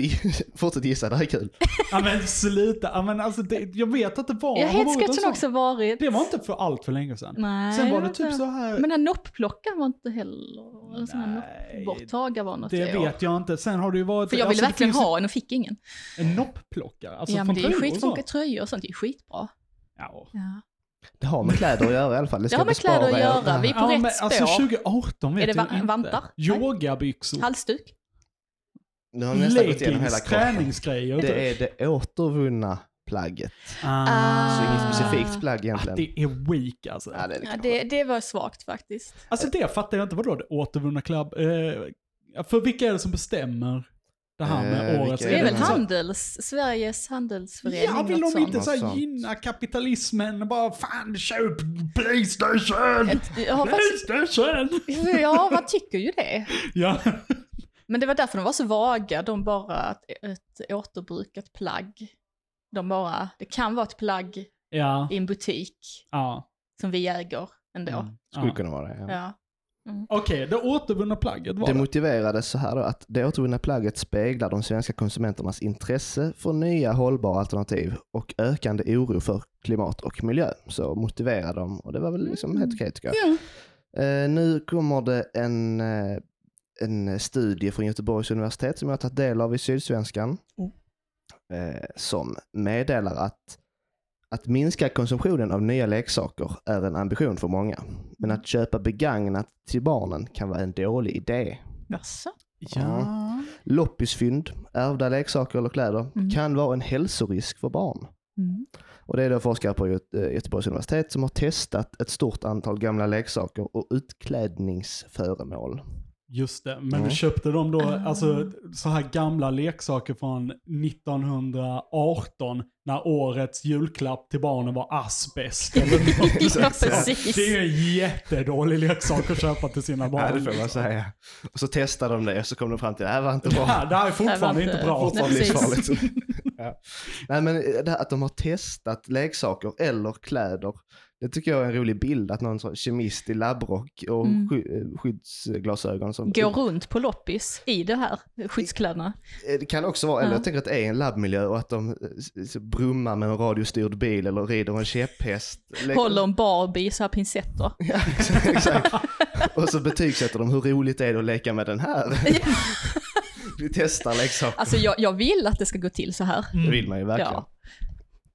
[SPEAKER 4] fortsätt gissa, det här är kul.
[SPEAKER 3] Ja men sluta, ja, men alltså det, jag vet att det var.
[SPEAKER 2] Ja,
[SPEAKER 3] har varit en
[SPEAKER 2] headsketchen
[SPEAKER 3] sån.
[SPEAKER 2] också varit.
[SPEAKER 3] Det var inte för allt för länge sedan.
[SPEAKER 2] Nej,
[SPEAKER 3] Sen var
[SPEAKER 2] det
[SPEAKER 3] det typ
[SPEAKER 2] var-
[SPEAKER 3] så här.
[SPEAKER 2] Men den här noppplockaren var inte heller, eller sån här
[SPEAKER 3] Nej,
[SPEAKER 2] noppborttagare var något
[SPEAKER 3] det
[SPEAKER 2] år.
[SPEAKER 3] vet jag inte. Sen har det ju varit...
[SPEAKER 2] För jag ville
[SPEAKER 3] alltså, det
[SPEAKER 2] verkligen
[SPEAKER 3] finns ju
[SPEAKER 2] ha en och fick ingen.
[SPEAKER 3] En noppplockare. Alltså
[SPEAKER 2] ja
[SPEAKER 3] från
[SPEAKER 2] men det är ju
[SPEAKER 3] tröjor och så.
[SPEAKER 2] skitfunka tröjor och sånt, det är ju skitbra.
[SPEAKER 3] Ja.
[SPEAKER 2] Ja.
[SPEAKER 4] Det har med kläder att göra i alla fall. Det,
[SPEAKER 2] Det
[SPEAKER 4] ska
[SPEAKER 2] har med kläder
[SPEAKER 4] bespara
[SPEAKER 2] att
[SPEAKER 4] er
[SPEAKER 2] göra.
[SPEAKER 4] det här.
[SPEAKER 2] Vi är på
[SPEAKER 3] Ja,
[SPEAKER 2] rätt
[SPEAKER 3] men
[SPEAKER 2] spår.
[SPEAKER 3] alltså 2018 vet
[SPEAKER 2] Är det va-
[SPEAKER 3] jag inte.
[SPEAKER 2] vantar? Nej.
[SPEAKER 3] Yogabyxor.
[SPEAKER 2] Halsduk.
[SPEAKER 4] Nu har vi nästan gått igenom hela
[SPEAKER 3] Leggings,
[SPEAKER 4] kroppen.
[SPEAKER 3] träningsgrejer. typ.
[SPEAKER 4] Det är det återvunna plagget. Så
[SPEAKER 2] Ah.
[SPEAKER 4] inget specifikt plagg
[SPEAKER 3] Att
[SPEAKER 4] egentligen.
[SPEAKER 3] Ah, det är weak alltså.
[SPEAKER 4] Ja, det är det
[SPEAKER 2] Ja,
[SPEAKER 4] kanske.
[SPEAKER 2] det, det var svagt faktiskt.
[SPEAKER 3] Alltså det fattar jag inte. Vadå det återvunna klubb? Eh, för vilka är det som bestämmer det här med
[SPEAKER 4] Eh,
[SPEAKER 3] årets?
[SPEAKER 4] vilka
[SPEAKER 2] Det är väl
[SPEAKER 4] det-
[SPEAKER 2] handels, Sveriges handelsförening.
[SPEAKER 3] Ja, vill
[SPEAKER 2] något
[SPEAKER 3] de inte
[SPEAKER 4] sånt.
[SPEAKER 3] så här
[SPEAKER 4] Något
[SPEAKER 3] gynna kapitalismen och bara fan köp Playstation!
[SPEAKER 2] sånt. Jag har faktiskt,
[SPEAKER 3] Playstation!
[SPEAKER 2] ja, man tycker ju det.
[SPEAKER 3] Ja.
[SPEAKER 2] Men det var därför de var så vaga. De bara, ett, ett återbrukat plagg. De bara, det kan vara ett plagg
[SPEAKER 3] Ja.
[SPEAKER 2] i en butik
[SPEAKER 3] ja.
[SPEAKER 2] som vi äger ändå.
[SPEAKER 3] Mm.
[SPEAKER 4] Skulle
[SPEAKER 3] Ja.
[SPEAKER 4] kunna vara det. Ja.
[SPEAKER 2] Ja.
[SPEAKER 3] Okej, det återvunna plagget var
[SPEAKER 4] Det
[SPEAKER 3] det.
[SPEAKER 4] motiverades så här då, att det återvunna plagget speglar de svenska konsumenternas intresse för nya hållbara alternativ och ökande oro för klimat och miljö. Så motiverar de och det var väl liksom helt okej tycker jag.
[SPEAKER 3] Ja.
[SPEAKER 4] Eh, nu kommer det en, eh, en studie från Göteborgs universitet som jag har tagit del av i Sydsvenskan. Eh, som meddelar att att minska konsumtionen av nya leksaker är en ambition för många. Men att köpa begagnat till barnen kan vara en dålig idé.
[SPEAKER 2] Jaså?
[SPEAKER 3] Ja.
[SPEAKER 4] Loppisfynd, ärvda leksaker eller kläder, kan vara en hälsorisk för barn.
[SPEAKER 2] Mm.
[SPEAKER 4] Och det är då forskare på Göte- eh, Göteborgs universitet som har testat ett stort antal gamla leksaker och utklädningsföremål.
[SPEAKER 3] Just det, men
[SPEAKER 4] Ja.
[SPEAKER 3] köpte de då
[SPEAKER 2] Ah.
[SPEAKER 3] alltså, så här gamla leksaker från 1918 när årets julklapp till barnen var asbest? Eller något.
[SPEAKER 2] Ja,
[SPEAKER 4] så.
[SPEAKER 2] precis.
[SPEAKER 3] det är ju en jättedålig leksak att köpa till sina barn.
[SPEAKER 4] Ja, det får man säga. Och så testade de det och så kom de fram till det här var inte
[SPEAKER 3] Det
[SPEAKER 4] bra.
[SPEAKER 3] här, det
[SPEAKER 2] Det
[SPEAKER 3] här är
[SPEAKER 2] här var
[SPEAKER 3] fortfarande
[SPEAKER 2] inte-
[SPEAKER 3] inte bra.
[SPEAKER 4] Fortfarande
[SPEAKER 2] Nej, precis.
[SPEAKER 4] livsfarligt. ja. Nej men det här att de har testat leksaker eller kläder. Det tycker jag är en rolig bild att någon sån kemist i labbrock och
[SPEAKER 2] Mm.
[SPEAKER 4] sky- eh, skyddsglasögon som
[SPEAKER 2] Går runt på loppis i det här skyddskläderna.
[SPEAKER 4] Eh, Det kan också vara, eller
[SPEAKER 2] Ja.
[SPEAKER 4] jag tänker att det är en labbmiljö och att de eh, s- s- brummar med en radiostyrd bil eller rider en käpphäst. Le-
[SPEAKER 2] Håller en Barbie i så här pincetter.
[SPEAKER 4] Ja, exakt, exakt. Och så betygsätter de hur roligt det är att leka med den här. Vi testar leksaker.
[SPEAKER 2] Alltså jag, jag vill att det ska gå till så här.
[SPEAKER 3] Mm.
[SPEAKER 4] Det vill man ju verkligen.
[SPEAKER 2] Mm.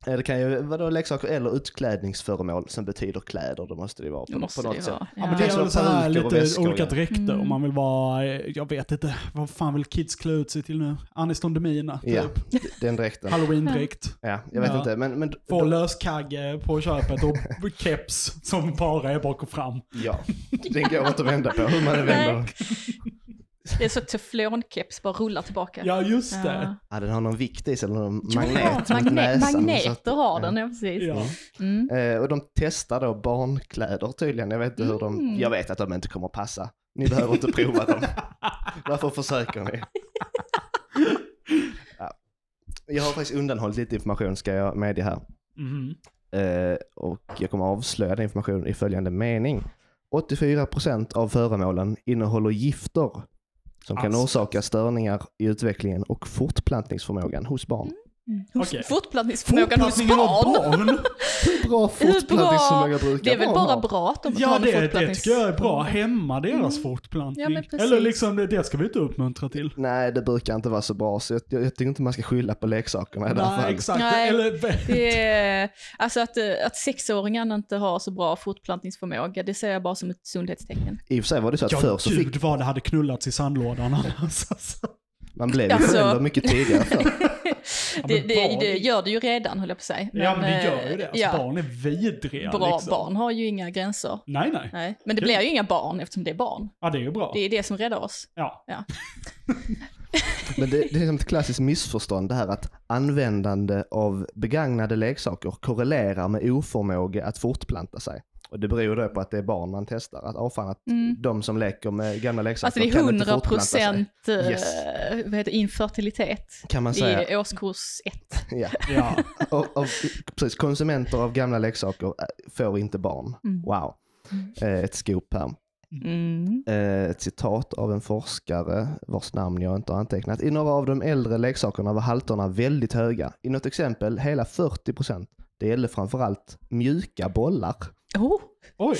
[SPEAKER 2] Ja.
[SPEAKER 4] Eh, Det kan ju vara då leksaker eller utklädningsföremål som betyder kläder, då måste det vara på,
[SPEAKER 2] Det måste
[SPEAKER 4] på något
[SPEAKER 2] det
[SPEAKER 4] sätt.
[SPEAKER 2] vara.
[SPEAKER 3] Ja, men det
[SPEAKER 4] Kanske
[SPEAKER 3] är
[SPEAKER 4] några
[SPEAKER 3] väl så här
[SPEAKER 4] peruker och
[SPEAKER 3] lite
[SPEAKER 4] väskor,
[SPEAKER 3] olika
[SPEAKER 4] ja.
[SPEAKER 3] dräkter om man vill vara, eh, jag vet inte, vad fan vill kids klä ut sig till nu? Anis Don Demina, typ.
[SPEAKER 4] Ja, den dräkten.
[SPEAKER 3] Halloween-dräkt.
[SPEAKER 4] Ja, jag vet
[SPEAKER 3] Ja.
[SPEAKER 4] inte, men, men
[SPEAKER 3] Få löskagge på köpet och keps som bara är bak och fram.
[SPEAKER 4] ja, den går inte att vända på hur man än vänder.
[SPEAKER 2] Nej. Det är så teflonkeps bara rullar tillbaka.
[SPEAKER 3] Ja, just det.
[SPEAKER 2] Ja.
[SPEAKER 4] Ja, den har någon vikt i sig, eller någon
[SPEAKER 2] Ja,
[SPEAKER 4] magnet runt
[SPEAKER 2] magne-
[SPEAKER 4] näsan, så att-
[SPEAKER 2] magneter har den, ja precis.
[SPEAKER 3] Ja.
[SPEAKER 2] Mm.
[SPEAKER 4] Eh, och de testar då barnkläder tydligen. Jag vet inte hur de,
[SPEAKER 2] Mm.
[SPEAKER 4] jag vet att de inte kommer att passa. Ni behöver inte prova dem. Varför försöker ni? ja. Jag har faktiskt undanhållit lite information ska jag medge här.
[SPEAKER 3] Mhm.
[SPEAKER 4] Eh, och jag kommer avslöja den informationen i följande mening. 84% av föremålen innehåller gifter som kan
[SPEAKER 2] Alltså.
[SPEAKER 3] Asbest.
[SPEAKER 4] orsaka störningar i utvecklingen och fortplantningsförmågan hos
[SPEAKER 2] Mm.
[SPEAKER 4] barn.
[SPEAKER 3] Okej.
[SPEAKER 2] Fortplantningsförmågan hos
[SPEAKER 3] Fortplantningen av
[SPEAKER 2] barn.
[SPEAKER 3] barn?
[SPEAKER 4] Hur bra
[SPEAKER 2] Hur bra?
[SPEAKER 4] fortplantningsförmåga brukar
[SPEAKER 2] Det är väl
[SPEAKER 4] barn
[SPEAKER 2] bara
[SPEAKER 4] ha?
[SPEAKER 2] bra att de
[SPEAKER 3] Ja,
[SPEAKER 2] har
[SPEAKER 3] det, det
[SPEAKER 2] fortplantnings-
[SPEAKER 3] tycker jag är bra. Hämma deras fortplantning.
[SPEAKER 2] Ja, men precis.
[SPEAKER 3] Eller liksom, det, det ska vi inte uppmuntra till.
[SPEAKER 4] Nej, det brukar inte vara så bra, så jag, jag, jag tycker inte man ska skylla på leksakerna i det här
[SPEAKER 3] Nej,
[SPEAKER 4] fallet.
[SPEAKER 3] exakt.
[SPEAKER 2] Nej.
[SPEAKER 3] Eller,
[SPEAKER 2] Det är, alltså att, eh, att sexåringarna inte har så bra fortplantningsförmåga, det ser jag bara som ett sundhetstecken.
[SPEAKER 4] I och för sig var det så att förr
[SPEAKER 3] ja,
[SPEAKER 4] så
[SPEAKER 3] gud
[SPEAKER 4] fick
[SPEAKER 3] vad det hade knullats i sandlådan annars. Alltså.
[SPEAKER 4] man blev ju
[SPEAKER 2] Alltså-
[SPEAKER 4] förälder mycket tidigare förr.
[SPEAKER 3] Ja,
[SPEAKER 2] Det,
[SPEAKER 3] men
[SPEAKER 2] det,
[SPEAKER 3] barn-
[SPEAKER 2] det gör det ju redan, höll jag på att säga.
[SPEAKER 3] Ja men det gör ju det.
[SPEAKER 2] eh,
[SPEAKER 3] Alltså, Barn är vidriga.
[SPEAKER 2] Bra
[SPEAKER 3] liksom.
[SPEAKER 2] barn har ju inga gränser.
[SPEAKER 3] Nej, nej
[SPEAKER 2] Nej. Men det
[SPEAKER 3] Kul.
[SPEAKER 2] blir ju inga barn eftersom det är barn.
[SPEAKER 3] Ja det är ju bra.
[SPEAKER 2] Det är det som räddar oss.
[SPEAKER 3] Ja.
[SPEAKER 2] Ja.
[SPEAKER 4] Men det, det är som ett klassiskt missförstånd det här att användande av begagnade leksaker korrelerar med oförmåga att fortplanta sig. Och det beror ju då på att det är barn man testar. Att, oh, fan, att de som leker med gamla leksaker
[SPEAKER 2] Mm. Alltså det är
[SPEAKER 4] kan inte fortplanta sig.
[SPEAKER 2] 100% eh,
[SPEAKER 4] Yes.
[SPEAKER 2] vad heter det, infertilitet
[SPEAKER 4] Kan man säga.
[SPEAKER 2] i årskurs 1.
[SPEAKER 4] Ja.
[SPEAKER 3] ja.
[SPEAKER 4] Och, och, precis, konsumenter av gamla leksaker eh, får inte barn. Wow. Eh, Ett scoop här.
[SPEAKER 2] Mm.
[SPEAKER 4] Eh, ett citat av en forskare vars namn jag inte har antecknat. I några av de äldre leksakerna var halterna väldigt höga. I något exempel hela 40 procent. Det gällde framförallt mjuka bollar.
[SPEAKER 2] Oh,
[SPEAKER 3] Oj.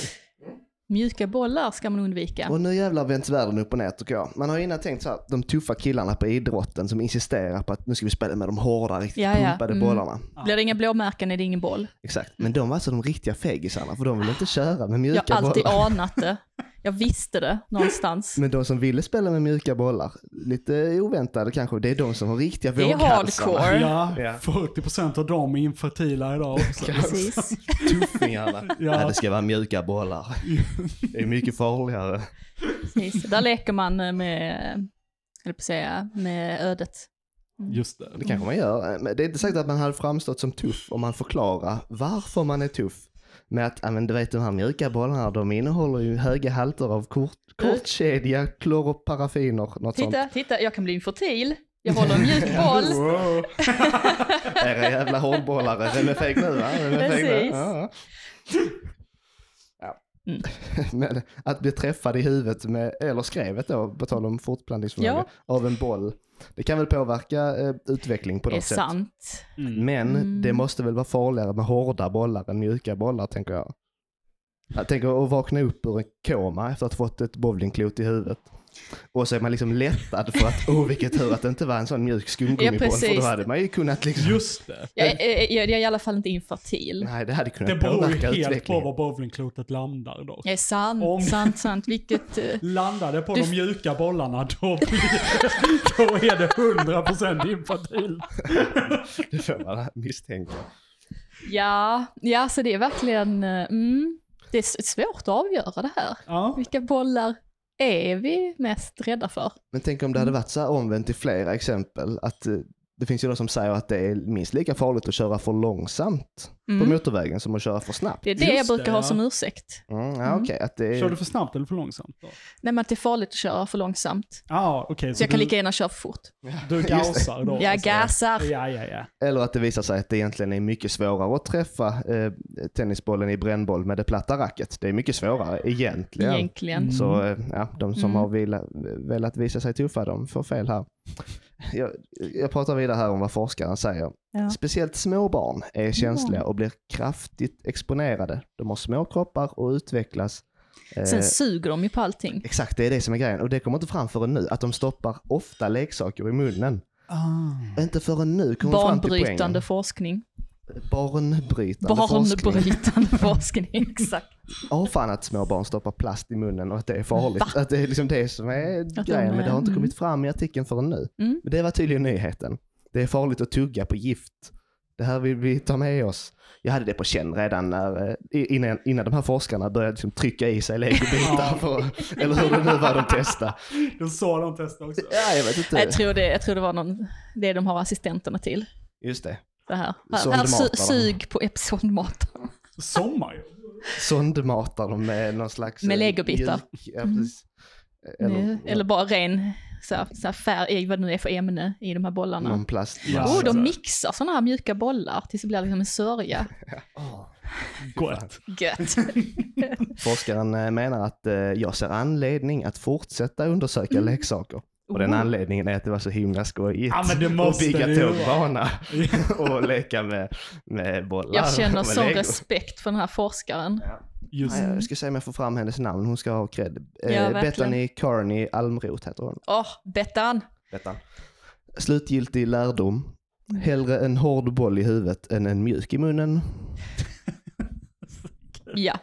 [SPEAKER 2] mjuka bollar ska man undvika.
[SPEAKER 4] Och nu jävlar vänds världen upp och ner tycker jag. Man har ju innan tänkt så här, de tuffa killarna på idrotten som insisterar på att nu ska vi spela med de hårda, riktigt
[SPEAKER 2] Ja, ja.
[SPEAKER 4] pumpade
[SPEAKER 2] Mm.
[SPEAKER 4] bollarna.
[SPEAKER 2] Blir det inga blåmärken är det ingen boll.
[SPEAKER 4] Exakt. Men de var alltså de riktiga fegisarna för de ville inte köra med
[SPEAKER 2] Jag
[SPEAKER 4] mjuka
[SPEAKER 2] har alltid
[SPEAKER 4] bollar.
[SPEAKER 2] anat det. Jag visste det någonstans.
[SPEAKER 4] Men de som ville spela med mjuka bollar, lite oväntade kanske, det är de som har riktiga
[SPEAKER 2] Det är
[SPEAKER 4] våghalsarna.
[SPEAKER 2] hardcore.
[SPEAKER 3] Ja,
[SPEAKER 4] Ja.
[SPEAKER 3] 40% av dem är infertila idag också.
[SPEAKER 2] Precis.
[SPEAKER 4] Tuffingarna.
[SPEAKER 3] Ja.
[SPEAKER 4] Nej, det ska vara mjuka bollar. Det är mycket farligare.
[SPEAKER 2] Precis. Där leker man eh, med, eller på att säga, med ödet.
[SPEAKER 3] Just det.
[SPEAKER 4] Det kanske man gör. Eh, Men det är inte säkert att man hade framstått som tuff om man förklarar varför man är tuff. Med att, ja men du vet de här mjuka bollarna, de innehåller ju höga halter av kort, kortkedja, kloroparafiner, något sånt.
[SPEAKER 2] Titta, titta, jag kan bli infertil. Jag håller en mjuk boll.
[SPEAKER 3] Wow.
[SPEAKER 4] Era jävla hårdbollare, vem är feg nu va? Vem är feg nu?
[SPEAKER 2] Precis.
[SPEAKER 4] Ja. ja.
[SPEAKER 2] Mm.
[SPEAKER 4] Men att bli träffad i huvudet, med, eller skrevet då, på tal om fortplantningsförmåga, av en boll. Det kan väl påverka eh, utveckling på
[SPEAKER 2] Det är
[SPEAKER 4] något sätt.
[SPEAKER 2] sant.
[SPEAKER 3] Mm.
[SPEAKER 4] Men
[SPEAKER 2] Mm.
[SPEAKER 4] det måste väl vara farligare med hårda bollar än mjuka bollar tänker jag. Jag tänker att vakna upp ur en koma efter att ha fått ett bowlingklot i huvudet. Och så är man liksom lättad för att, oh vilket tur att det inte var en sån mjuk
[SPEAKER 2] Ja,
[SPEAKER 4] skumgummiboll. för då
[SPEAKER 2] precis.
[SPEAKER 4] hade man ju kunnat liksom,
[SPEAKER 3] Just det.
[SPEAKER 2] Jag, jag, jag är i alla fall inte infertil.
[SPEAKER 4] nej det hade
[SPEAKER 3] Det
[SPEAKER 4] kunnat
[SPEAKER 3] beror ju
[SPEAKER 4] påverka
[SPEAKER 3] helt på
[SPEAKER 4] utvecklingen.
[SPEAKER 3] var bowlingklotet landar dock.
[SPEAKER 2] Det är sant,
[SPEAKER 3] Om-
[SPEAKER 2] sant, sant. Vilket... eh,
[SPEAKER 3] Landar det på
[SPEAKER 2] Du-
[SPEAKER 3] de mjuka bollarna då, blir, då är det 100% infertil.
[SPEAKER 4] Det får man misstänka.
[SPEAKER 2] Ja, ja, så det är verkligen... eh, Mm, det är s- svårt att avgöra det här.
[SPEAKER 3] Ja.
[SPEAKER 2] Vilka bollar är vi mest rädda för?
[SPEAKER 4] Men tänk om det
[SPEAKER 2] Mm.
[SPEAKER 4] hade varit så här omvänt i flera exempel. Att eh, det finns ju de som säger att det är minst lika farligt att köra för långsamt
[SPEAKER 2] Mm.
[SPEAKER 4] på motorvägen som att köra för snabbt.
[SPEAKER 2] Det är det
[SPEAKER 3] Just
[SPEAKER 2] jag brukar
[SPEAKER 3] det,
[SPEAKER 2] ha
[SPEAKER 3] ja.
[SPEAKER 2] som ursäkt.
[SPEAKER 4] Mm, ja, okej, att det är...
[SPEAKER 3] Kör du för snabbt eller för långsamt? Då?
[SPEAKER 2] Nej men att det är farligt att köra för långsamt.
[SPEAKER 3] Ah, okej.
[SPEAKER 2] Så
[SPEAKER 3] så
[SPEAKER 2] jag kan
[SPEAKER 3] du,
[SPEAKER 2] lika gärna köra för fort.
[SPEAKER 3] du gasar då?
[SPEAKER 2] Jag
[SPEAKER 3] alltså.
[SPEAKER 2] gasar.
[SPEAKER 3] Ja, ja, ja.
[SPEAKER 4] Eller att det visar sig att det egentligen är mycket svårare att träffa eh, tennisbollen i brännboll med det platta racket. Det är mycket svårare egentligen.
[SPEAKER 2] Egentligen.
[SPEAKER 4] Så eh, ja, de som
[SPEAKER 2] Mm.
[SPEAKER 4] har vila, velat visa sig tuffa, de får fel här. Jag, jag pratar vidare här om vad forskaren säger.
[SPEAKER 2] Ja.
[SPEAKER 4] Speciellt små barn är känsliga och blir kraftigt exponerade. De har små kroppar och utvecklas. eh,
[SPEAKER 2] Sen suger de ju på allting.
[SPEAKER 4] Exakt, det är det som är grejen. Och det kommer inte fram förrän nu, att de stoppar ofta leksaker i munnen.
[SPEAKER 2] Mm.
[SPEAKER 4] Inte förrän nu kommer de fram till poängen.
[SPEAKER 2] Barnbrytande forskning.
[SPEAKER 4] Barnbrytande forskning.
[SPEAKER 2] Barnbrytande forskning, exakt.
[SPEAKER 4] Åh fan att små barn stoppar plast i munnen och att det är farligt. Att det är liksom det som är
[SPEAKER 2] de
[SPEAKER 4] grejen. Men det har inte
[SPEAKER 2] är-
[SPEAKER 4] kommit fram i artikeln förrän nu.
[SPEAKER 2] Mm.
[SPEAKER 4] Men det var tydligen nyheten. Det är farligt att tugga på gift. Det här vill vi ta med oss. Jag hade det på känn redan när, eh, innan, innan de här forskarna började liksom trycka i sig legobitar. för- eller hur det nu var de testade.
[SPEAKER 3] Du sa de testade också.
[SPEAKER 4] Ja, jag vet
[SPEAKER 2] Jag
[SPEAKER 4] inte.
[SPEAKER 2] tror, det, jag tror det var någon, det de har assistenterna till.
[SPEAKER 4] Just det.
[SPEAKER 2] Det här. Här, här
[SPEAKER 4] Sondmatar
[SPEAKER 2] su,
[SPEAKER 4] de.
[SPEAKER 2] sug på Epsonmatar.
[SPEAKER 3] Sommarjobb.
[SPEAKER 4] Sondmatar de med någon slags...
[SPEAKER 2] Med
[SPEAKER 4] eh,
[SPEAKER 2] legobitar. Mm.
[SPEAKER 4] mjuk- Ja, precis.
[SPEAKER 2] Eller, eller bara ren så här, så här färg, i vad det nu är för ämne i de här bollarna.
[SPEAKER 4] någon plast.
[SPEAKER 3] Ja.
[SPEAKER 2] Oh,
[SPEAKER 3] Alltså.
[SPEAKER 2] de mixar sådana här mjuka bollar tills det blir liksom en sörja.
[SPEAKER 3] Gott.
[SPEAKER 2] Gött.
[SPEAKER 4] Forskaren eh, menar att eh, jag ser anledning att fortsätta undersöka leksaker. Och den
[SPEAKER 2] Mm. Oh.
[SPEAKER 4] anledningen är att det var så himla skojigt
[SPEAKER 3] Ja, men det
[SPEAKER 4] att
[SPEAKER 3] måste
[SPEAKER 4] bygga
[SPEAKER 3] det ju
[SPEAKER 4] tågbana och leka med, med bollar.
[SPEAKER 2] Jag känner
[SPEAKER 4] och med
[SPEAKER 2] sån
[SPEAKER 4] lego.
[SPEAKER 2] respekt för den här forskaren.
[SPEAKER 3] Just
[SPEAKER 4] Ja, Jag ska se om jag får fram hennes namn, hon ska ha cred. Eh,
[SPEAKER 2] Ja, verkligen.
[SPEAKER 4] Bethany Carney Almroth heter hon.
[SPEAKER 2] Åh, Bettan!
[SPEAKER 4] Bettan. Slutgiltig lärdom. Hellre en hård boll i huvudet än en mjuk i munnen.
[SPEAKER 2] Ja,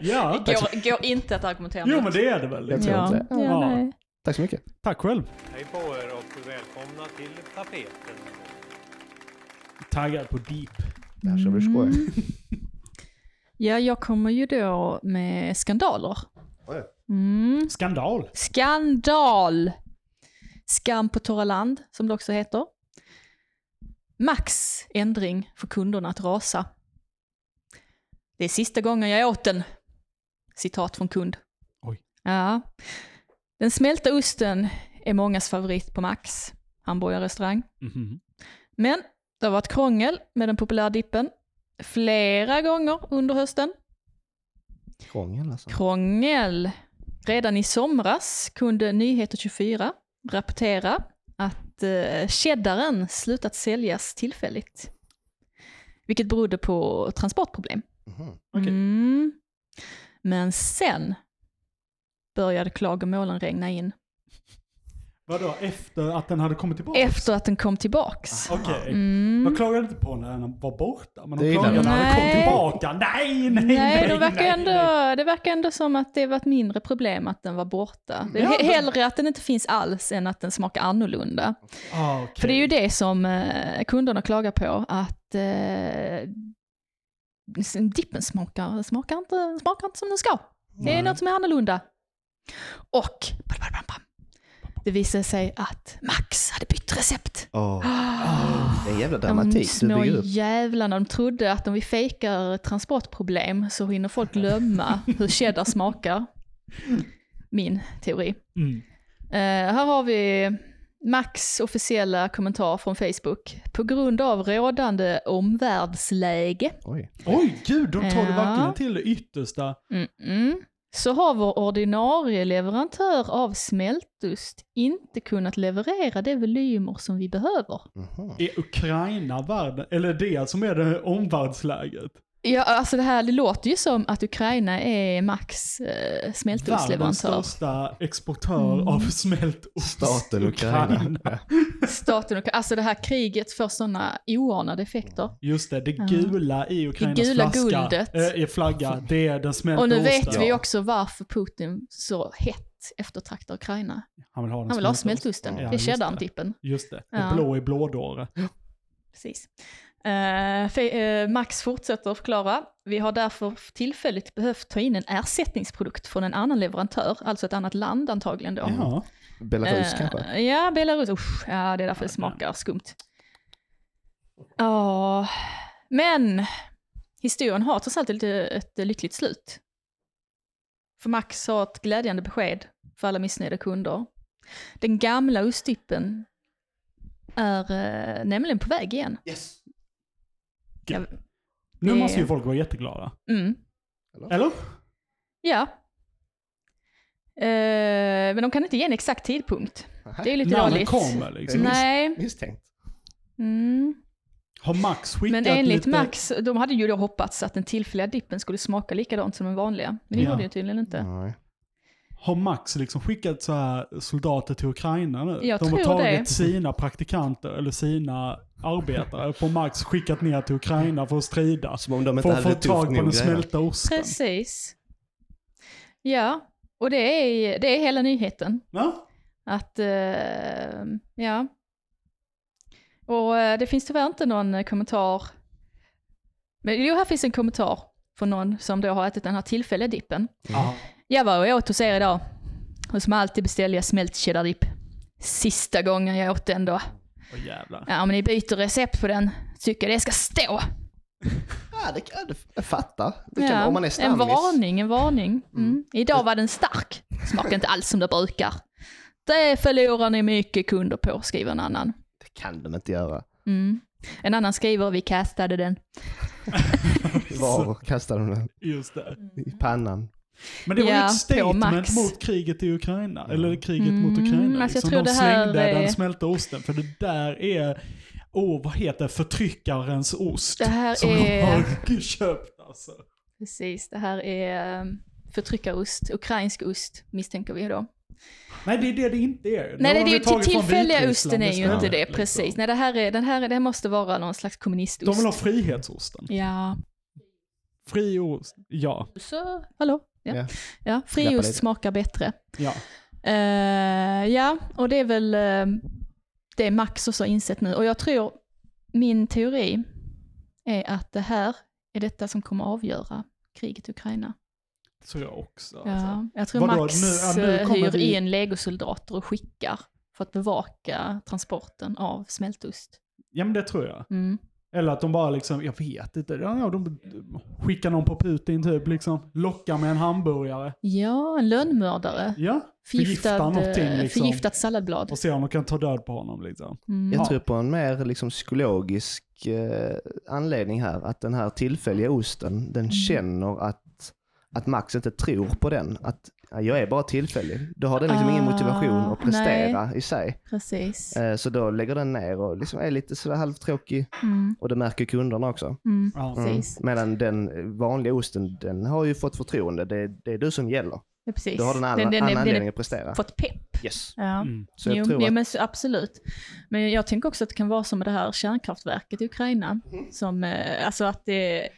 [SPEAKER 3] Ja.
[SPEAKER 2] går, går inte att argumentera
[SPEAKER 3] Jo
[SPEAKER 2] med.
[SPEAKER 3] men det är det väl.
[SPEAKER 4] Jag tror
[SPEAKER 2] ja.
[SPEAKER 4] inte det.
[SPEAKER 2] Ja, nej.
[SPEAKER 4] Tack så mycket.
[SPEAKER 3] Tack själv.
[SPEAKER 9] Hej på er och och välkomna till tapeten.
[SPEAKER 3] Taggad på deep.
[SPEAKER 4] Det här ska bli skoj.
[SPEAKER 2] Mm. Ja, jag kommer ju då med skandaler.
[SPEAKER 4] Oj.
[SPEAKER 2] Mm.
[SPEAKER 3] Skandal.
[SPEAKER 2] Skandal! Skam på torra land, som det också heter. Max ändring för kunderna att rasa. Det är sista gången jag åt den. Citat från kund.
[SPEAKER 3] Oj.
[SPEAKER 2] Ja. Den smälta osten är mångas favorit på Max hamburgarrestaurang.
[SPEAKER 3] Mhm.
[SPEAKER 2] Men det har varit krångel med den populära dippen flera gånger under hösten.
[SPEAKER 4] Krångel alltså.
[SPEAKER 2] Krångel. Redan i somras kunde Nyheter 24 rapportera att eh, cheddaren slutat säljas tillfälligt. Vilket berodde på transportproblem.
[SPEAKER 4] Mhm.
[SPEAKER 3] Okej.
[SPEAKER 2] Mm. Men sen började klagomålen regna in.
[SPEAKER 3] Vadå, efter att den hade kommit tillbaka?
[SPEAKER 2] Efter att den kom tillbaks.
[SPEAKER 3] Ah, Okej.
[SPEAKER 2] Mm.
[SPEAKER 3] Man klagade inte på när den var borta, men
[SPEAKER 4] Det
[SPEAKER 3] de
[SPEAKER 4] gillar
[SPEAKER 3] klagade
[SPEAKER 2] vi.
[SPEAKER 3] när den kom
[SPEAKER 2] Nej.
[SPEAKER 3] tillbaka. Nej, nej, nej.
[SPEAKER 2] Nej, de verkar
[SPEAKER 3] nej,
[SPEAKER 2] ändå,
[SPEAKER 3] nej.
[SPEAKER 2] det verkar ändå som att det var ett mindre problem att den var borta. Det är
[SPEAKER 3] Ja,
[SPEAKER 2] he-
[SPEAKER 3] men-
[SPEAKER 2] hellre att den inte finns alls än att den smakar annorlunda.
[SPEAKER 3] Ah, okej.
[SPEAKER 2] För det är ju det som eh, kunderna klagar på, att eh, s- dippen smakar, smakar, inte, smakar inte som den ska. Det är något som är annorlunda. Och bam, bam, bam, bam, det visade sig att Max hade bytt recept.
[SPEAKER 4] Åh, det är en jävla
[SPEAKER 2] De
[SPEAKER 4] dramatik du
[SPEAKER 2] små
[SPEAKER 4] bygger upp.
[SPEAKER 2] jävlarna, de trodde att om vi fejkar transportproblem så hinner folk glömma hur cheddar smakar. Min teori.
[SPEAKER 3] Mm.
[SPEAKER 2] Eh, här har vi Max officiella kommentar från Facebook. På grund av rådande omvärldsläge
[SPEAKER 4] Oj.
[SPEAKER 3] Oj, gud, de tar det
[SPEAKER 2] Ja.
[SPEAKER 3] verkligen till det yttersta.
[SPEAKER 2] mm-mm, så har vår ordinarie leverantör av smältost inte kunnat leverera de volymer som vi behöver.
[SPEAKER 4] Mhm.
[SPEAKER 3] Är Ukraina världen, eller det som är det omvärldsläget?
[SPEAKER 2] Ja, alltså det här det låter ju som att Ukraina är Max eh,
[SPEAKER 3] Världens
[SPEAKER 2] smältostleverantör.
[SPEAKER 3] största exportör
[SPEAKER 2] Mm.
[SPEAKER 3] av smält ost.
[SPEAKER 4] Staten Ukraina. Ja.
[SPEAKER 2] Staten och, alltså det här kriget får sådana oanade effekter.
[SPEAKER 3] Just det, det gula i Ukrainas
[SPEAKER 2] gula
[SPEAKER 3] flaska,
[SPEAKER 2] guldet.
[SPEAKER 3] eh, är flagga, det är den smälta
[SPEAKER 2] Och nu vet
[SPEAKER 3] osten.
[SPEAKER 2] vi också varför Putin så hett eftertraktar Ukraina.
[SPEAKER 3] Han vill ha, den
[SPEAKER 2] Han vill ha
[SPEAKER 3] smälta
[SPEAKER 2] smältosten.
[SPEAKER 3] Ja,
[SPEAKER 2] det är
[SPEAKER 3] just
[SPEAKER 2] cheddarn,
[SPEAKER 3] det.
[SPEAKER 2] dippen.
[SPEAKER 3] Just det,
[SPEAKER 2] Ja.
[SPEAKER 3] och blå i blådåre.
[SPEAKER 2] Precis. Eh, fe- eh, Max fortsätter förklara. Vi har därför för tillfälligt behövt ta in en ersättningsprodukt från en annan leverantör, alltså ett annat land antagligen då.
[SPEAKER 3] Ja.
[SPEAKER 4] Belarus
[SPEAKER 2] Eh,
[SPEAKER 4] kanske?
[SPEAKER 2] Ja, Belarus. Usch, ja, det är därför det smakar skumt. Ja, men historien har trots allt ett, ett lyckligt slut. För Max har ett glädjande besked för alla missnöjda kunder. Den gamla ostdippen är eh, nämligen på väg igen.
[SPEAKER 3] Gud.
[SPEAKER 2] Ja,
[SPEAKER 3] Nu
[SPEAKER 2] det-
[SPEAKER 3] måste ju folk vara jätteglada.
[SPEAKER 2] Mm.
[SPEAKER 3] Eller?
[SPEAKER 2] Ja. Eh, men de kan inte ge en exakt tidpunkt. Det är lite
[SPEAKER 3] När den
[SPEAKER 2] dåligt.
[SPEAKER 3] kommer liksom.
[SPEAKER 2] Nej.
[SPEAKER 4] Misstänkt.
[SPEAKER 2] Mm.
[SPEAKER 3] Har Max skickat
[SPEAKER 2] Men enligt
[SPEAKER 3] lite...
[SPEAKER 2] Max, de hade ju då hoppats att den tillfälliga dippen skulle smaka likadant som den vanliga. Men det
[SPEAKER 3] Ja. Mm.
[SPEAKER 2] gjorde den ju tydligen inte.
[SPEAKER 4] Nej.
[SPEAKER 3] Har Max liksom skickat så här soldater till Ukraina nu?
[SPEAKER 2] Jag
[SPEAKER 3] de har
[SPEAKER 2] tror
[SPEAKER 3] tagit
[SPEAKER 2] det.
[SPEAKER 3] sina praktikanter eller sina arbetare på Max, skickat ner till Ukraina för att strida.
[SPEAKER 4] Som om de inte
[SPEAKER 3] För att
[SPEAKER 4] hade
[SPEAKER 3] få
[SPEAKER 4] det tufft
[SPEAKER 3] tag på
[SPEAKER 4] nog,
[SPEAKER 3] den
[SPEAKER 4] grejer.
[SPEAKER 3] smälta osten.
[SPEAKER 2] Precis. Ja, och det är, det är hela nyheten.
[SPEAKER 3] Ja?
[SPEAKER 2] Att, eh, ja. Och eh, det finns tyvärr inte någon eh, kommentar. Men jo, här finns en kommentar från någon som då har ätit den här tillfälliga dippen.
[SPEAKER 3] Ja.
[SPEAKER 2] Jag var och åt hos er idag. Och som alltid beställde jag smält cheddardipp. Sista gången jag åt den då.
[SPEAKER 3] Åh jävlar.
[SPEAKER 2] Ja, om ni byter recept på den, tycker jag det ska stå.
[SPEAKER 4] Ja, det kan jag- jag fattar. Det kan,
[SPEAKER 2] Ja,
[SPEAKER 4] Om man är
[SPEAKER 2] en
[SPEAKER 4] stammis.
[SPEAKER 2] varning, en varning. Mm. Idag var den stark. Smakar inte alls som det brukar. Det förlorar ni mycket kunder på, skriver en annan.
[SPEAKER 4] Det kan de inte göra.
[SPEAKER 2] Mm. En annan skriver, vi kastade den.
[SPEAKER 4] Varor kastar de den
[SPEAKER 3] Just det.
[SPEAKER 4] i pannan.
[SPEAKER 3] Men det var ju
[SPEAKER 2] Ja,
[SPEAKER 3] ett
[SPEAKER 2] på
[SPEAKER 3] statement
[SPEAKER 2] Max.
[SPEAKER 3] mot kriget i Ukraina. Eller kriget mot Ukraina.
[SPEAKER 2] Mm, alltså jag
[SPEAKER 3] liksom.
[SPEAKER 2] tror
[SPEAKER 3] De
[SPEAKER 2] det här
[SPEAKER 3] slängde
[SPEAKER 2] är-
[SPEAKER 3] den smälta osten. För det där är, åh oh, vad heter det, förtryckarens ost.
[SPEAKER 2] Det här
[SPEAKER 3] som
[SPEAKER 2] är-
[SPEAKER 3] de har köpt alltså.
[SPEAKER 2] Precis, det här är eh, förtryckarost, ukrainsk ost misstänker vi då.
[SPEAKER 3] Nej det är det det inte är.
[SPEAKER 2] Nej,
[SPEAKER 3] Nu
[SPEAKER 2] det,
[SPEAKER 3] har
[SPEAKER 2] det är
[SPEAKER 3] vi
[SPEAKER 2] ju
[SPEAKER 3] tagit från
[SPEAKER 2] tillfälliga
[SPEAKER 3] Vitryssland
[SPEAKER 2] osten är ju
[SPEAKER 3] istället,
[SPEAKER 2] inte det,
[SPEAKER 3] liksom.
[SPEAKER 2] precis. Nej, det här, är, den här, det här måste vara någon slags
[SPEAKER 3] De
[SPEAKER 2] kommunistost.
[SPEAKER 3] vill ha frihetsosten.
[SPEAKER 2] Ja.
[SPEAKER 3] Fri ost. Ja.
[SPEAKER 2] Så, hallå? Ja.
[SPEAKER 4] Ja.
[SPEAKER 2] Ja. Friost
[SPEAKER 4] Klappa lite.
[SPEAKER 2] smakar bättre.
[SPEAKER 3] ja.
[SPEAKER 2] Eh, ja, och det är väl eh, det Max också har insett nu. Och jag tror, min teori är att det här är detta som kommer avgöra kriget i Ukraina.
[SPEAKER 3] tror jag också. Alltså.
[SPEAKER 2] Ja, jag tror
[SPEAKER 3] Vadå,
[SPEAKER 2] Max
[SPEAKER 3] nu- ja, nu
[SPEAKER 2] eh,
[SPEAKER 3] kommer
[SPEAKER 2] hyr
[SPEAKER 3] vi-
[SPEAKER 2] in legosoldater och skickar för att bevaka transporten av smältost.
[SPEAKER 3] Ja men det tror jag.
[SPEAKER 2] Mm.
[SPEAKER 3] Eller att de bara liksom, jag vet inte, ja, ja, de skickar någon på Putin typ liksom, lockar med en hamburgare.
[SPEAKER 2] Ja, en lönnmördare.
[SPEAKER 3] Ja,
[SPEAKER 2] Förgiftad,
[SPEAKER 3] någonting
[SPEAKER 2] eh,
[SPEAKER 3] liksom.
[SPEAKER 2] Förgiftat salladblad.
[SPEAKER 3] Och se om de kan ta död på honom liksom.
[SPEAKER 2] Mm.
[SPEAKER 3] Ja.
[SPEAKER 4] Jag tror på en mer liksom psykologisk eh, anledning här. Att den här tillfälliga osten,
[SPEAKER 2] Mm.
[SPEAKER 4] den känner att, att Max inte tror på den. Att ja, jag är bara tillfällig. Då har den liksom ingen
[SPEAKER 2] Ah,
[SPEAKER 4] motivation att prestera i sig.
[SPEAKER 2] Precis.
[SPEAKER 4] Eh, så då lägger den ner och liksom är lite sådär halvtråkig.
[SPEAKER 2] Mm.
[SPEAKER 4] Och det märker kunderna också.
[SPEAKER 2] Mm.
[SPEAKER 3] Ja.
[SPEAKER 4] Mm.
[SPEAKER 2] Precis.
[SPEAKER 4] Medan den vanliga osten, den har ju fått förtroende. Det, det är du som gäller.
[SPEAKER 2] Ja, precis.
[SPEAKER 4] Då har den all,
[SPEAKER 2] den, den,
[SPEAKER 4] annan
[SPEAKER 2] den,
[SPEAKER 4] anledning
[SPEAKER 2] den
[SPEAKER 4] att prestera.
[SPEAKER 2] har fått pepp.
[SPEAKER 4] Yes.
[SPEAKER 2] Ja.
[SPEAKER 3] Mm.
[SPEAKER 4] Så jag
[SPEAKER 2] jo,
[SPEAKER 4] tror
[SPEAKER 2] jo,
[SPEAKER 4] att
[SPEAKER 2] men så, absolut. Men jag tänker också att det kan vara som med det här kärnkraftverket i Ukraina. Som, eh, alltså att det,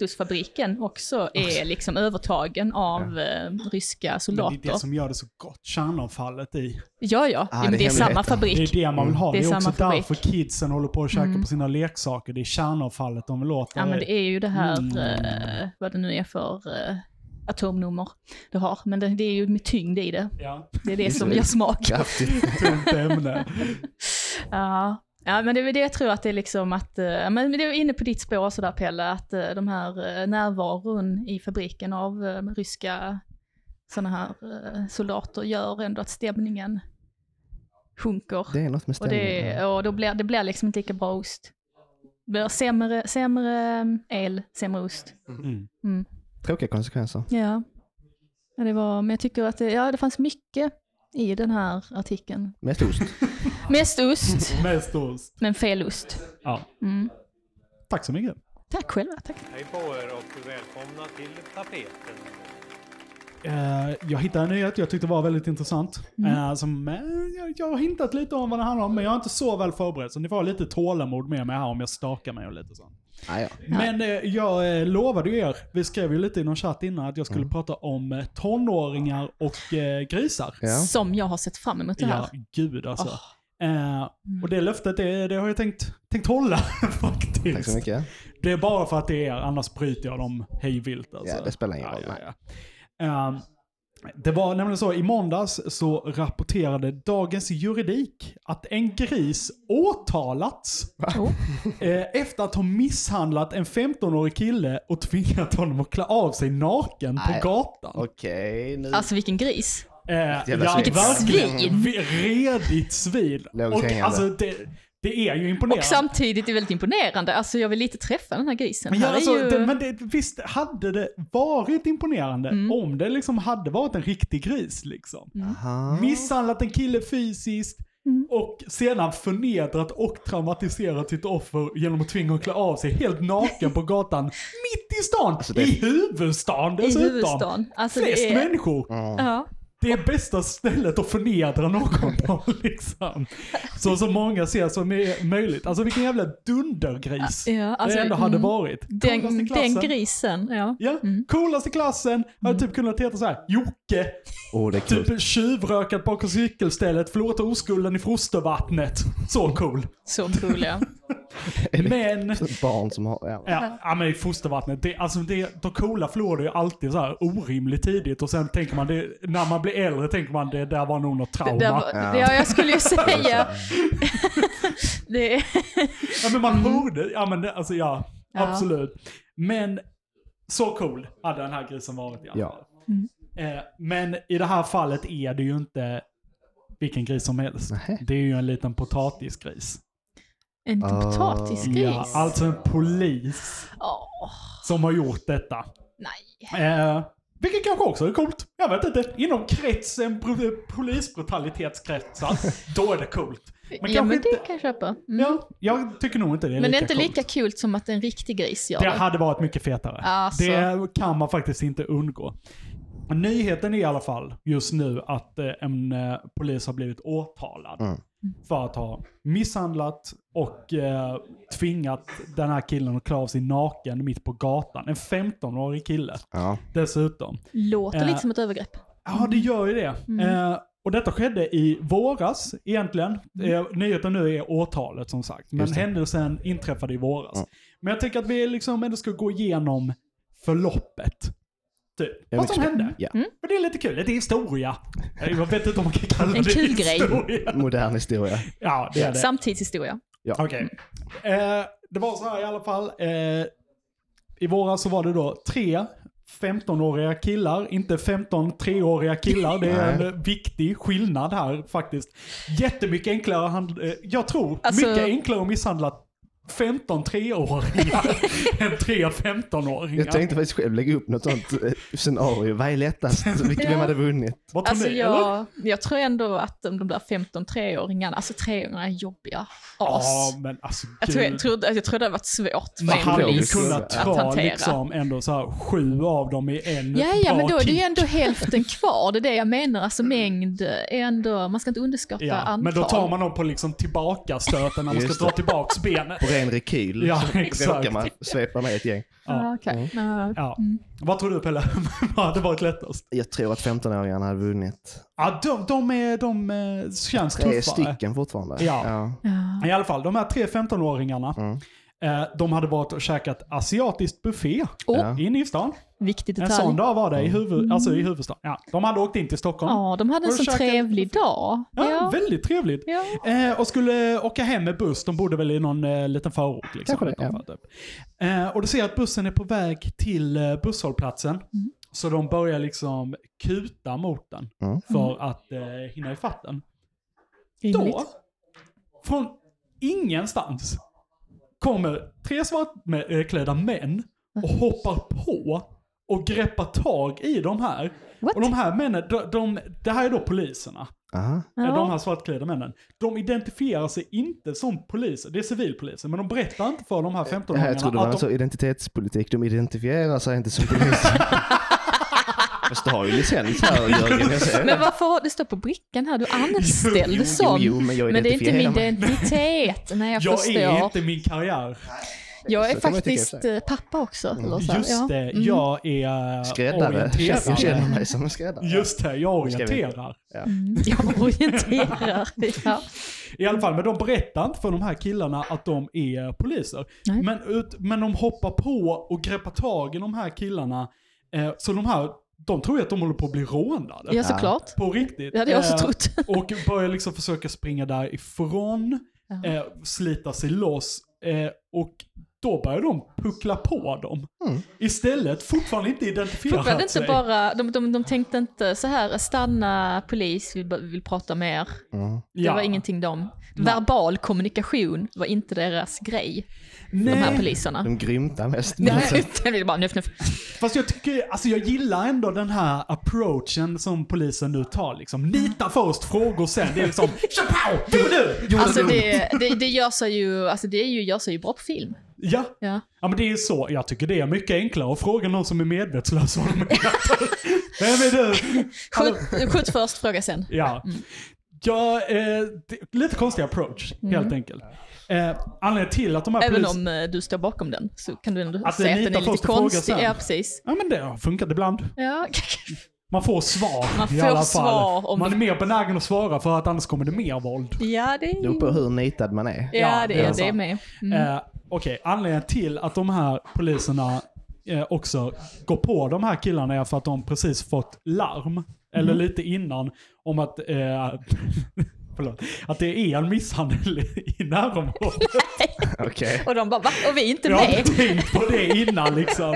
[SPEAKER 2] smältdosfabriken också är liksom övertagen av eh, ryska soldater.
[SPEAKER 3] Men det är det som gör det så gott, kärnavfallet i.
[SPEAKER 2] Ja, ja.
[SPEAKER 4] Ah,
[SPEAKER 2] jo, men
[SPEAKER 4] det
[SPEAKER 2] det
[SPEAKER 4] är
[SPEAKER 2] är samma
[SPEAKER 4] hemligheten.
[SPEAKER 3] Det
[SPEAKER 2] fabrik.
[SPEAKER 3] är det man vill ha.
[SPEAKER 2] Det
[SPEAKER 3] Det
[SPEAKER 2] är
[SPEAKER 3] är, också
[SPEAKER 2] samma fabrik.
[SPEAKER 3] därför kidsen håller på och käkar på sina leksaker. Det är kärnavfallet de vill åt.
[SPEAKER 2] Ja, men det är ju det här,
[SPEAKER 3] Mm.
[SPEAKER 2] eh, vad det nu är för eh, atomnummer du har. Men det, det är ju med tyngd i det.
[SPEAKER 3] Ja,
[SPEAKER 2] Det är det
[SPEAKER 4] Just
[SPEAKER 2] som
[SPEAKER 4] det.
[SPEAKER 2] gör smak.
[SPEAKER 4] kraftigt.
[SPEAKER 3] tungt ämne.
[SPEAKER 2] Ja. ja, men det är väl det jag tror att det är liksom att, eh, men det är inne på ditt spår sådär Pelle, att eh, de här eh, närvaron i fabriken av eh, ryska sådana här eh, soldater gör ändå att stämningen sjunker.
[SPEAKER 4] Det är något med
[SPEAKER 2] och
[SPEAKER 4] stämningen.
[SPEAKER 2] det, och då blir, det blir liksom inte lika bra ost. Det blir sämre, sämre eh, el, sämre ost.
[SPEAKER 3] Mm.
[SPEAKER 2] Mm.
[SPEAKER 4] Tråkiga konsekvenser.
[SPEAKER 2] Ja. ja, det var, men jag tycker att det, ja, det fanns mycket i den här artikeln.
[SPEAKER 4] Mest ost.
[SPEAKER 2] Mest ost,
[SPEAKER 3] Mest ost.
[SPEAKER 2] men fel ost.
[SPEAKER 3] Ja.
[SPEAKER 2] Mm.
[SPEAKER 3] Tack så mycket.
[SPEAKER 2] Tack själva, tack.
[SPEAKER 9] Hej på er och välkomna till tapeten.
[SPEAKER 3] Eh, jag hittade en nyhet jag tyckte var väldigt intressant. Eh, som, eh, jag, jag har hintat lite om vad det handlar om, men jag är inte så väl förberedd. Så ni får ha lite tålamod med mig här om jag stakar mig och lite sånt.
[SPEAKER 4] Ah, ja.
[SPEAKER 3] Men eh, jag eh, lovade ju er, vi skrev ju lite i någon chatt innan, att jag skulle
[SPEAKER 4] Mm.
[SPEAKER 3] prata om eh, tonåringar och eh, grisar.
[SPEAKER 4] Ja.
[SPEAKER 2] Som jag har sett fram emot det här.
[SPEAKER 3] Ja, gud alltså. Eh, och det löftet, det, det har jag tänkt, tänkt hålla faktiskt.
[SPEAKER 4] Tack så mycket.
[SPEAKER 3] Det är bara för att det är er, annars bryter jag dem hejvilt. Alltså.
[SPEAKER 4] Ja, det spelar ingen roll,
[SPEAKER 3] ja, ja. Ehm, det var nämligen så, i måndags så rapporterade Dagens Juridik att en gris åtalats
[SPEAKER 2] Oh.
[SPEAKER 3] eh, efter att ha misshandlat en 15-årig kille och tvingat honom att klä av sig naken
[SPEAKER 4] Nej.
[SPEAKER 3] på gatan.
[SPEAKER 4] Okej, nu...
[SPEAKER 2] Alltså vilken gris.
[SPEAKER 3] Eh,
[SPEAKER 4] jävla
[SPEAKER 3] ja,
[SPEAKER 4] svin.
[SPEAKER 3] verkligen.
[SPEAKER 2] Vilket
[SPEAKER 3] Vi- Redigt svin.
[SPEAKER 4] Lågt
[SPEAKER 3] Och
[SPEAKER 4] hängande.
[SPEAKER 3] alltså det, det är ju
[SPEAKER 2] Och
[SPEAKER 3] imponerande.
[SPEAKER 2] samtidigt är det väldigt imponerande. Alltså jag vill lite träffa den här grisen.
[SPEAKER 3] Men, ja,
[SPEAKER 2] här
[SPEAKER 3] alltså,
[SPEAKER 2] är ju...
[SPEAKER 3] det, men det, visst hade det varit imponerande
[SPEAKER 2] Mm.
[SPEAKER 3] om det liksom hade varit en riktig gris liksom.
[SPEAKER 4] Aha.
[SPEAKER 3] Misshandlat en kille fysiskt
[SPEAKER 2] Mm.
[SPEAKER 3] och sedan förnedrat och traumatiserat sitt offer genom att tvinga att klä av sig helt naken på gatan mitt i stan,
[SPEAKER 4] Alltså, det-
[SPEAKER 3] i huvudstaden
[SPEAKER 2] I
[SPEAKER 3] dessutom.
[SPEAKER 2] huvudstaden. Alltså,
[SPEAKER 3] Flest
[SPEAKER 2] det är...
[SPEAKER 3] människor.
[SPEAKER 2] Ja.
[SPEAKER 3] Det är bästa stället att förnedra någon på liksom. Så så många ser som är möjligt. Alltså vilken jävla dundergris
[SPEAKER 2] Ja, alltså,
[SPEAKER 3] det ändå hade
[SPEAKER 2] mm.
[SPEAKER 3] varit. Coolast i
[SPEAKER 2] Den,
[SPEAKER 3] klassen.
[SPEAKER 2] den
[SPEAKER 3] Mm.
[SPEAKER 2] grisen, ja.
[SPEAKER 3] Ja, coolast i klassen. Hade typ kunnat heta så här: Jocke.
[SPEAKER 4] Åh, det är kul.
[SPEAKER 3] Typ tjuvrökat bakom cykelstället, förlorat oskulden i Frostervattnet. Så cool.
[SPEAKER 2] Så cool ja.
[SPEAKER 3] Men...
[SPEAKER 4] Barn som har... Ja.
[SPEAKER 3] Ja, ja men i fostervattnet, det, alltså det, de coola förlorar ju alltid så här orimligt tidigt och sen tänker man, det, när man blir äldre tänker man det där var nog något trauma.
[SPEAKER 2] Det var, ja, jag skulle ju säga. det är...
[SPEAKER 3] Ja men man borde, ja men det, alltså ja,
[SPEAKER 2] Mm. Ja.
[SPEAKER 3] absolut. Men så cool hade den här grisen varit i alla
[SPEAKER 4] Ja.
[SPEAKER 3] fall.
[SPEAKER 2] Mm.
[SPEAKER 3] Eh, men i det här fallet är det ju inte vilken gris som helst.
[SPEAKER 4] Nähä.
[SPEAKER 3] Det är ju en liten potatisgris.
[SPEAKER 2] En liten
[SPEAKER 4] Ah.
[SPEAKER 2] potatisgris.
[SPEAKER 3] Ja, alltså en polis
[SPEAKER 2] Åh,
[SPEAKER 3] som har gjort detta.
[SPEAKER 2] nej.
[SPEAKER 3] Eh, vilket kanske också är coolt. Jag vet inte. Inom kretsen pro- polisbrutalitetskretsar, då är det coolt. Men kanske
[SPEAKER 2] ja, men
[SPEAKER 3] inte.
[SPEAKER 2] det kan jag köpa. Mm.
[SPEAKER 3] Ja, jag tycker nog inte det är
[SPEAKER 2] men det
[SPEAKER 3] lika
[SPEAKER 2] är inte
[SPEAKER 3] coolt.
[SPEAKER 2] lika kul som att en riktig gris gör
[SPEAKER 3] Det
[SPEAKER 2] det.
[SPEAKER 3] hade varit mycket fetare.
[SPEAKER 2] Alltså.
[SPEAKER 3] Det kan man faktiskt inte undgå. Nyheten är i alla fall just nu att eh, en eh, polis har blivit åtalad
[SPEAKER 4] Mm.
[SPEAKER 3] för att ha misshandlat och eh, tvingat den här killen att klä av sig naken mitt på gatan. En 15-årig kille
[SPEAKER 4] Ja.
[SPEAKER 3] dessutom.
[SPEAKER 2] Låter
[SPEAKER 3] Eh,
[SPEAKER 2] lite som ett övergrepp.
[SPEAKER 3] Ja, det gör ju det. Eh, och Och detta skedde i våras egentligen. Eh, Nyheten nu är årtalet som sagt. Men
[SPEAKER 4] Just det.
[SPEAKER 3] händelsen inträffade i våras.
[SPEAKER 4] Mm.
[SPEAKER 3] Men jag tänker att vi liksom ändå ska gå igenom förloppet. Typ.
[SPEAKER 4] Ja,
[SPEAKER 3] Vad som
[SPEAKER 4] mycket
[SPEAKER 3] hände.
[SPEAKER 4] Ja.
[SPEAKER 2] Mm.
[SPEAKER 3] För det är lite kul, lite historia. Jag vet inte om man kan kalla
[SPEAKER 2] En
[SPEAKER 3] det
[SPEAKER 2] kul grej.
[SPEAKER 3] historia.
[SPEAKER 4] Modern historia.
[SPEAKER 3] Ja, det är det.
[SPEAKER 2] Samtidshistoria.
[SPEAKER 3] Okej. Eh, det var så här i alla fall. Eh, I våras så var det då tre 15-åriga killar, inte 15 3-åriga killar. Det är
[SPEAKER 4] Nej.
[SPEAKER 3] en viktig skillnad här faktiskt. Jättemycket enklare, hand- eh, jag tror,
[SPEAKER 2] Alltså-
[SPEAKER 3] mycket enklare att misshandla 15 3-åringar än 3 15-åringar.
[SPEAKER 4] Jag tänkte faktiskt själv lägga upp något sånt eh, scenario. Vad är lättast? Vilka- Vem hade vunnit?
[SPEAKER 3] Vad tror
[SPEAKER 2] Alltså
[SPEAKER 3] ni? Eller?
[SPEAKER 2] jag, jag tror ändå att de de där 15 treåringarna, alltså treåringarna är jobbiga as.
[SPEAKER 3] Ja, men alltså
[SPEAKER 2] jag, tror, jag, trodde, jag tror det hade varit svårt
[SPEAKER 3] Man
[SPEAKER 2] för en
[SPEAKER 3] hade ju
[SPEAKER 2] polis
[SPEAKER 3] kunnat
[SPEAKER 2] att
[SPEAKER 3] ta
[SPEAKER 2] hantera.
[SPEAKER 3] liksom ändå så här sju av dem i en
[SPEAKER 2] Ja, ja,
[SPEAKER 3] bra
[SPEAKER 2] men då är det ju
[SPEAKER 3] kick.
[SPEAKER 2] ändå hälften kvar. Det är det jag menar. Alltså mängd är ändå, man ska inte underskatta
[SPEAKER 3] Ja,
[SPEAKER 2] antal.
[SPEAKER 3] men då tar man dem på liksom tillbaka stöten när man ska
[SPEAKER 4] Just
[SPEAKER 3] dra
[SPEAKER 4] det.
[SPEAKER 3] tillbaks benet.
[SPEAKER 4] På ren rekyl
[SPEAKER 3] Ja,
[SPEAKER 4] så
[SPEAKER 3] exakt.
[SPEAKER 4] råkar man svepa med ett gäng.
[SPEAKER 2] Ja, okej. Ja. Mm.
[SPEAKER 3] Ja. Vad tror du Pelle? Vad hade varit lättast?
[SPEAKER 4] Jag tror att 15-åringarna hade vunnit.
[SPEAKER 3] Ja, de, de, är, de eh, känns
[SPEAKER 4] Tre
[SPEAKER 3] tuffare.
[SPEAKER 4] stycken fortfarande.
[SPEAKER 3] Ja. I alla fall, de här tre 15-åringarna,
[SPEAKER 4] Mm.
[SPEAKER 3] eh, de hade varit och käkat asiatiskt buffé
[SPEAKER 2] Åh.
[SPEAKER 3] inne i stan.
[SPEAKER 2] Viktig
[SPEAKER 3] En
[SPEAKER 2] detalj.
[SPEAKER 3] sån dag var det i,
[SPEAKER 4] Mm.
[SPEAKER 3] huvud, alltså i huvudstaden. Ja, de hade åkt in till Stockholm.
[SPEAKER 2] Ja, de hade en
[SPEAKER 3] Och
[SPEAKER 2] sån
[SPEAKER 3] käkat-
[SPEAKER 2] trevlig dag.
[SPEAKER 3] Ja,
[SPEAKER 2] Ja.
[SPEAKER 3] Väldigt trevligt.
[SPEAKER 2] Ja.
[SPEAKER 3] Eh, och skulle åka hem med buss. De bodde väl i någon eh, liten förort. Liksom,
[SPEAKER 4] Kanske det, ja.
[SPEAKER 3] utanför, typ. eh, och du ser att bussen är på väg till eh, busshållplatsen. Så de börjar liksom kuta mot den
[SPEAKER 4] Mm.
[SPEAKER 3] för att eh, hinna ifatt den.
[SPEAKER 2] Rimligt.
[SPEAKER 3] Då, från ingenstans, kommer tre svartklädda män och
[SPEAKER 4] Mm.
[SPEAKER 3] hoppar på och greppar tag i de här.
[SPEAKER 2] What?
[SPEAKER 3] Och de här männen, de, de, det här är då poliserna.
[SPEAKER 4] Aha.
[SPEAKER 2] Ja.
[SPEAKER 3] De här svartklädda männen. De identifierar sig inte som poliser, det är civilpoliser, men de berättar inte för de här
[SPEAKER 4] Det Eh, här trodde
[SPEAKER 3] 15-åringarna
[SPEAKER 4] man
[SPEAKER 3] att
[SPEAKER 4] alltså
[SPEAKER 3] de...
[SPEAKER 4] identitetspolitik. De identifierar sig inte som poliser. Fast du har ju licens här Jörgen. Jag ser.
[SPEAKER 2] Men varför har det står på brickan här? Du är
[SPEAKER 4] Jo, jo,
[SPEAKER 2] anställd som.
[SPEAKER 4] jo, men jag
[SPEAKER 2] men det är inte min
[SPEAKER 4] identifierar mig.
[SPEAKER 2] identitet. Nej, jag,
[SPEAKER 3] Jag
[SPEAKER 2] förstår.
[SPEAKER 3] är inte min karriär.
[SPEAKER 2] Jag är
[SPEAKER 4] Så kan man tycka i och för
[SPEAKER 2] faktiskt eh, pappa också. Eller så. här,
[SPEAKER 3] Just
[SPEAKER 2] ja. Mm.
[SPEAKER 3] det, jag är eh,
[SPEAKER 4] Skräddare. Jag
[SPEAKER 3] orienterare.
[SPEAKER 4] känner mig som en skräddare.
[SPEAKER 3] Just det, jag
[SPEAKER 4] Nu ska vi-
[SPEAKER 3] orienterar.
[SPEAKER 2] Mm, jag orienterar. Ja.
[SPEAKER 3] I alla fall, men de berättar inte för de här killarna att de är poliser.
[SPEAKER 2] Nej.
[SPEAKER 3] Men, ut, men de hoppar på och greppar tag i de här killarna. Eh, så de här, de tror ju att de håller på att bli rånade.
[SPEAKER 2] ja, såklart.
[SPEAKER 3] På riktigt.
[SPEAKER 2] Det hade jag också
[SPEAKER 3] Eh,
[SPEAKER 2] trott.
[SPEAKER 3] Och börjar liksom försöka springa därifrån,
[SPEAKER 2] Ja.
[SPEAKER 3] eh, slita sig loss. Eh, och då börjar de puckla på dem. Istället, fortfarande inte identifierat
[SPEAKER 2] Fortfarande inte
[SPEAKER 3] sig.
[SPEAKER 2] bara, de, de, de tänkte inte så här, stanna polis, vi, bara- vi vill prata med er. Det
[SPEAKER 3] Ja.
[SPEAKER 2] var ingenting de. Verbal kommunikation var inte deras grej, de här
[SPEAKER 3] Nej,
[SPEAKER 2] poliserna.
[SPEAKER 4] De grymtar mest. Alltså,
[SPEAKER 2] Nej, det vill bara nuff, nuff.
[SPEAKER 3] fast jag tycker, alltså jag gillar ändå den här approachen som polisen nu tar liksom. Nita först, frågor sen. Det är liksom, tja pow, du nu!
[SPEAKER 2] Alltså det, det, det gör sig ju, alltså det är ju, gör sig ju bra på film.
[SPEAKER 3] Ja.
[SPEAKER 2] Ja.
[SPEAKER 3] ja, men det är ju så. Jag tycker det är mycket enklare att fråga någon som är medvetslös vad de heter. Vem är du?
[SPEAKER 2] Skjut, skjut först, fråga sen.
[SPEAKER 3] Ja. ja eh, det, lite konstig approach, helt enkelt. Eh, anledningen till att de här
[SPEAKER 2] Mm. Även
[SPEAKER 3] polis-
[SPEAKER 2] om eh, du står bakom den så kan du ändå
[SPEAKER 3] Att
[SPEAKER 2] säga att
[SPEAKER 3] Anita
[SPEAKER 2] den är
[SPEAKER 3] får
[SPEAKER 2] lite
[SPEAKER 3] fråga
[SPEAKER 2] konstig.
[SPEAKER 3] sen.
[SPEAKER 2] Ja, precis.
[SPEAKER 3] Ja men det har funkat ibland.
[SPEAKER 2] Ja.
[SPEAKER 3] Man får svar
[SPEAKER 2] Man
[SPEAKER 3] i
[SPEAKER 2] får
[SPEAKER 3] alla fall.
[SPEAKER 2] svar om
[SPEAKER 3] Man
[SPEAKER 2] det-
[SPEAKER 3] är mer benägen att svara för att annars kommer det mer våld.
[SPEAKER 2] ja, det
[SPEAKER 4] Det beror
[SPEAKER 2] är...
[SPEAKER 4] på hur nitad man är.
[SPEAKER 2] Ja, det är
[SPEAKER 3] sant.
[SPEAKER 2] det med.
[SPEAKER 3] Eh, Okej, anledningen till att de här poliserna eh, också går på de här killarna är för att de precis fått larm, eller
[SPEAKER 2] Mm.
[SPEAKER 3] lite innan, om att, eh, förlåt, att det är en misshandel i närområdet.
[SPEAKER 4] Okej.
[SPEAKER 2] Och de bara, va? Och vi är inte
[SPEAKER 3] Jag har
[SPEAKER 2] med?
[SPEAKER 3] inte tänkt på det innan liksom.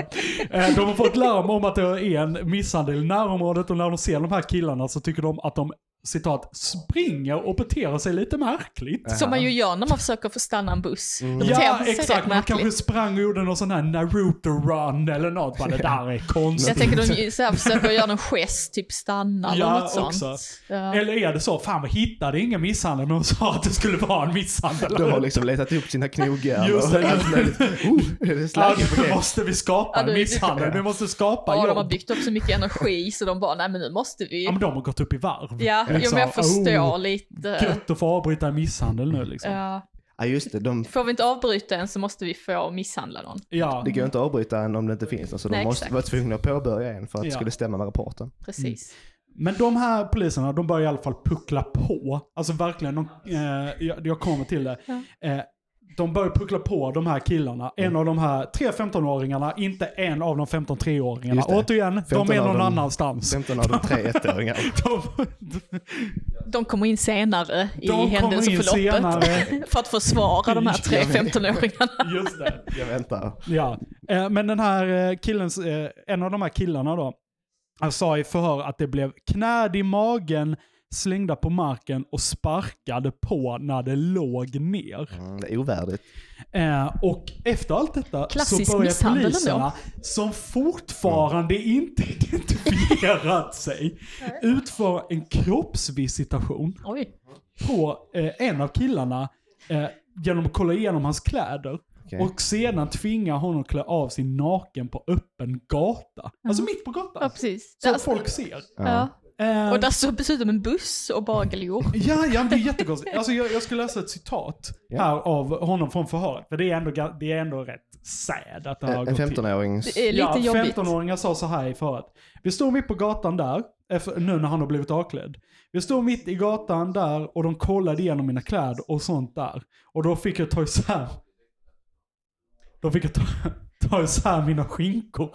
[SPEAKER 3] Eh, De har fått larm om att det är en misshandel i närområdet och när de ser de här killarna så tycker de att de citat, springer och beter sig lite märkligt.
[SPEAKER 4] Eh.
[SPEAKER 2] Som man ju gör när man försöker få stanna en buss. Då beter
[SPEAKER 3] Mm. Ja,
[SPEAKER 2] man sig
[SPEAKER 3] exakt.
[SPEAKER 2] rätt
[SPEAKER 3] Man
[SPEAKER 2] märkligt.
[SPEAKER 3] kanske sprang och gjorde någon sån här Naruto-run eller något. Bara, det där är
[SPEAKER 2] Jag
[SPEAKER 3] konstigt.
[SPEAKER 2] tänker de ju så här försöker göra någon gest, typ stanna eller
[SPEAKER 3] Ja,
[SPEAKER 2] något sånt.
[SPEAKER 3] också.
[SPEAKER 2] Ja.
[SPEAKER 3] Eller är det så, fan vi hittade ingen misshandel men de sa att det skulle vara en misshandel.
[SPEAKER 4] De har liksom letat upp sina knogjärn
[SPEAKER 3] Just
[SPEAKER 4] och
[SPEAKER 3] det.
[SPEAKER 4] allt möjligt. Oh, är det
[SPEAKER 3] Ja,
[SPEAKER 4] slaggen på
[SPEAKER 3] nu
[SPEAKER 4] det?
[SPEAKER 3] måste vi skapa
[SPEAKER 2] Ja,
[SPEAKER 3] en
[SPEAKER 2] det är-
[SPEAKER 3] misshandel. Vi måste skapa
[SPEAKER 2] Ja, de har
[SPEAKER 3] jobb.
[SPEAKER 2] byggt upp så mycket energi så de bara, nej men nu måste vi.
[SPEAKER 3] Ja,
[SPEAKER 2] Ja,
[SPEAKER 3] men de har gått upp i varv.
[SPEAKER 2] ja,
[SPEAKER 3] Liksom,
[SPEAKER 2] men jag förstår
[SPEAKER 3] oh,
[SPEAKER 2] lite.
[SPEAKER 3] Gött att få avbryta en misshandel nu liksom. Ja.
[SPEAKER 2] Ja.
[SPEAKER 4] Ja, just det. De,
[SPEAKER 2] Får vi inte avbryta en så måste vi få misshandla någon.
[SPEAKER 4] det går inte att avbryta en om det inte finns en, så de
[SPEAKER 2] Nej,
[SPEAKER 4] måste
[SPEAKER 2] exakt.
[SPEAKER 4] vara tvungna att påbörja en för att det
[SPEAKER 3] Ja.
[SPEAKER 4] skulle stämma med rapporten.
[SPEAKER 2] Precis.
[SPEAKER 3] Men de här poliserna, de börjar i alla fall puckla på. Alltså verkligen, de, eh, jag, jag kommer till det. Eh, de börjar puckla på de här killarna.
[SPEAKER 4] Mm.
[SPEAKER 3] En av de här tre 15-åringarna, inte en av de 15 3-åringarna.
[SPEAKER 4] Just det.
[SPEAKER 3] Återigen, de
[SPEAKER 4] 15
[SPEAKER 3] är
[SPEAKER 4] av
[SPEAKER 3] någon
[SPEAKER 4] dem.
[SPEAKER 3] annanstans.
[SPEAKER 4] 15 av de tre ettåringar.
[SPEAKER 3] De,
[SPEAKER 2] De kommer in senare i
[SPEAKER 3] De kommer in senare.
[SPEAKER 2] händelseförloppet. för att försvara de här tre
[SPEAKER 4] Jag vet.
[SPEAKER 2] 15-åringarna.
[SPEAKER 3] just det.
[SPEAKER 4] Jag väntar.
[SPEAKER 3] Ja, eh, men den här eh, killens, eh, en av de här killarna då, han sa i förhör att det blev knäd i magen, slängda på marken och sparkade på när det låg ner.
[SPEAKER 4] Mm, det är ovärdigt.
[SPEAKER 3] Eh, och efter allt detta
[SPEAKER 2] Klassisk
[SPEAKER 3] så börjar
[SPEAKER 2] misshandel ändå.
[SPEAKER 3] poliserna, som fortfarande inte identifierat sig, utföra en kroppsvisitation
[SPEAKER 2] Oj.
[SPEAKER 3] på eh, en av killarna eh, genom att kolla igenom hans kläder.
[SPEAKER 4] Okej.
[SPEAKER 3] Och sedan tvinga honom att klä av sig naken på öppen gata. Alltså mitt på gatan.
[SPEAKER 2] Ja, precis.
[SPEAKER 3] Så
[SPEAKER 2] Där-
[SPEAKER 3] att folk ser.
[SPEAKER 2] Ja.
[SPEAKER 3] Eh,
[SPEAKER 2] Och där stod dessutom en buss och bageljor.
[SPEAKER 3] Ja, ja, men det är jättekonstigt. Alltså, jag, jag ska läsa ett citat
[SPEAKER 4] Ja.
[SPEAKER 3] här av honom från förhöret. För det är ändå, ga- det är ändå rätt sad att det har
[SPEAKER 4] En
[SPEAKER 3] gått till.
[SPEAKER 4] 15-åring.
[SPEAKER 2] Det är lite
[SPEAKER 3] ja,
[SPEAKER 2] jobbigt.
[SPEAKER 3] 15-åringar sa så här i förhöret. Vi stod mitt på gatan där, efter, nu när han har blivit avklädd. Vi stod mitt i gatan där och de kollade igenom mina kläder och sånt där. Och då fick jag ta isär... Då fick jag ta, ta isär mina skinkor.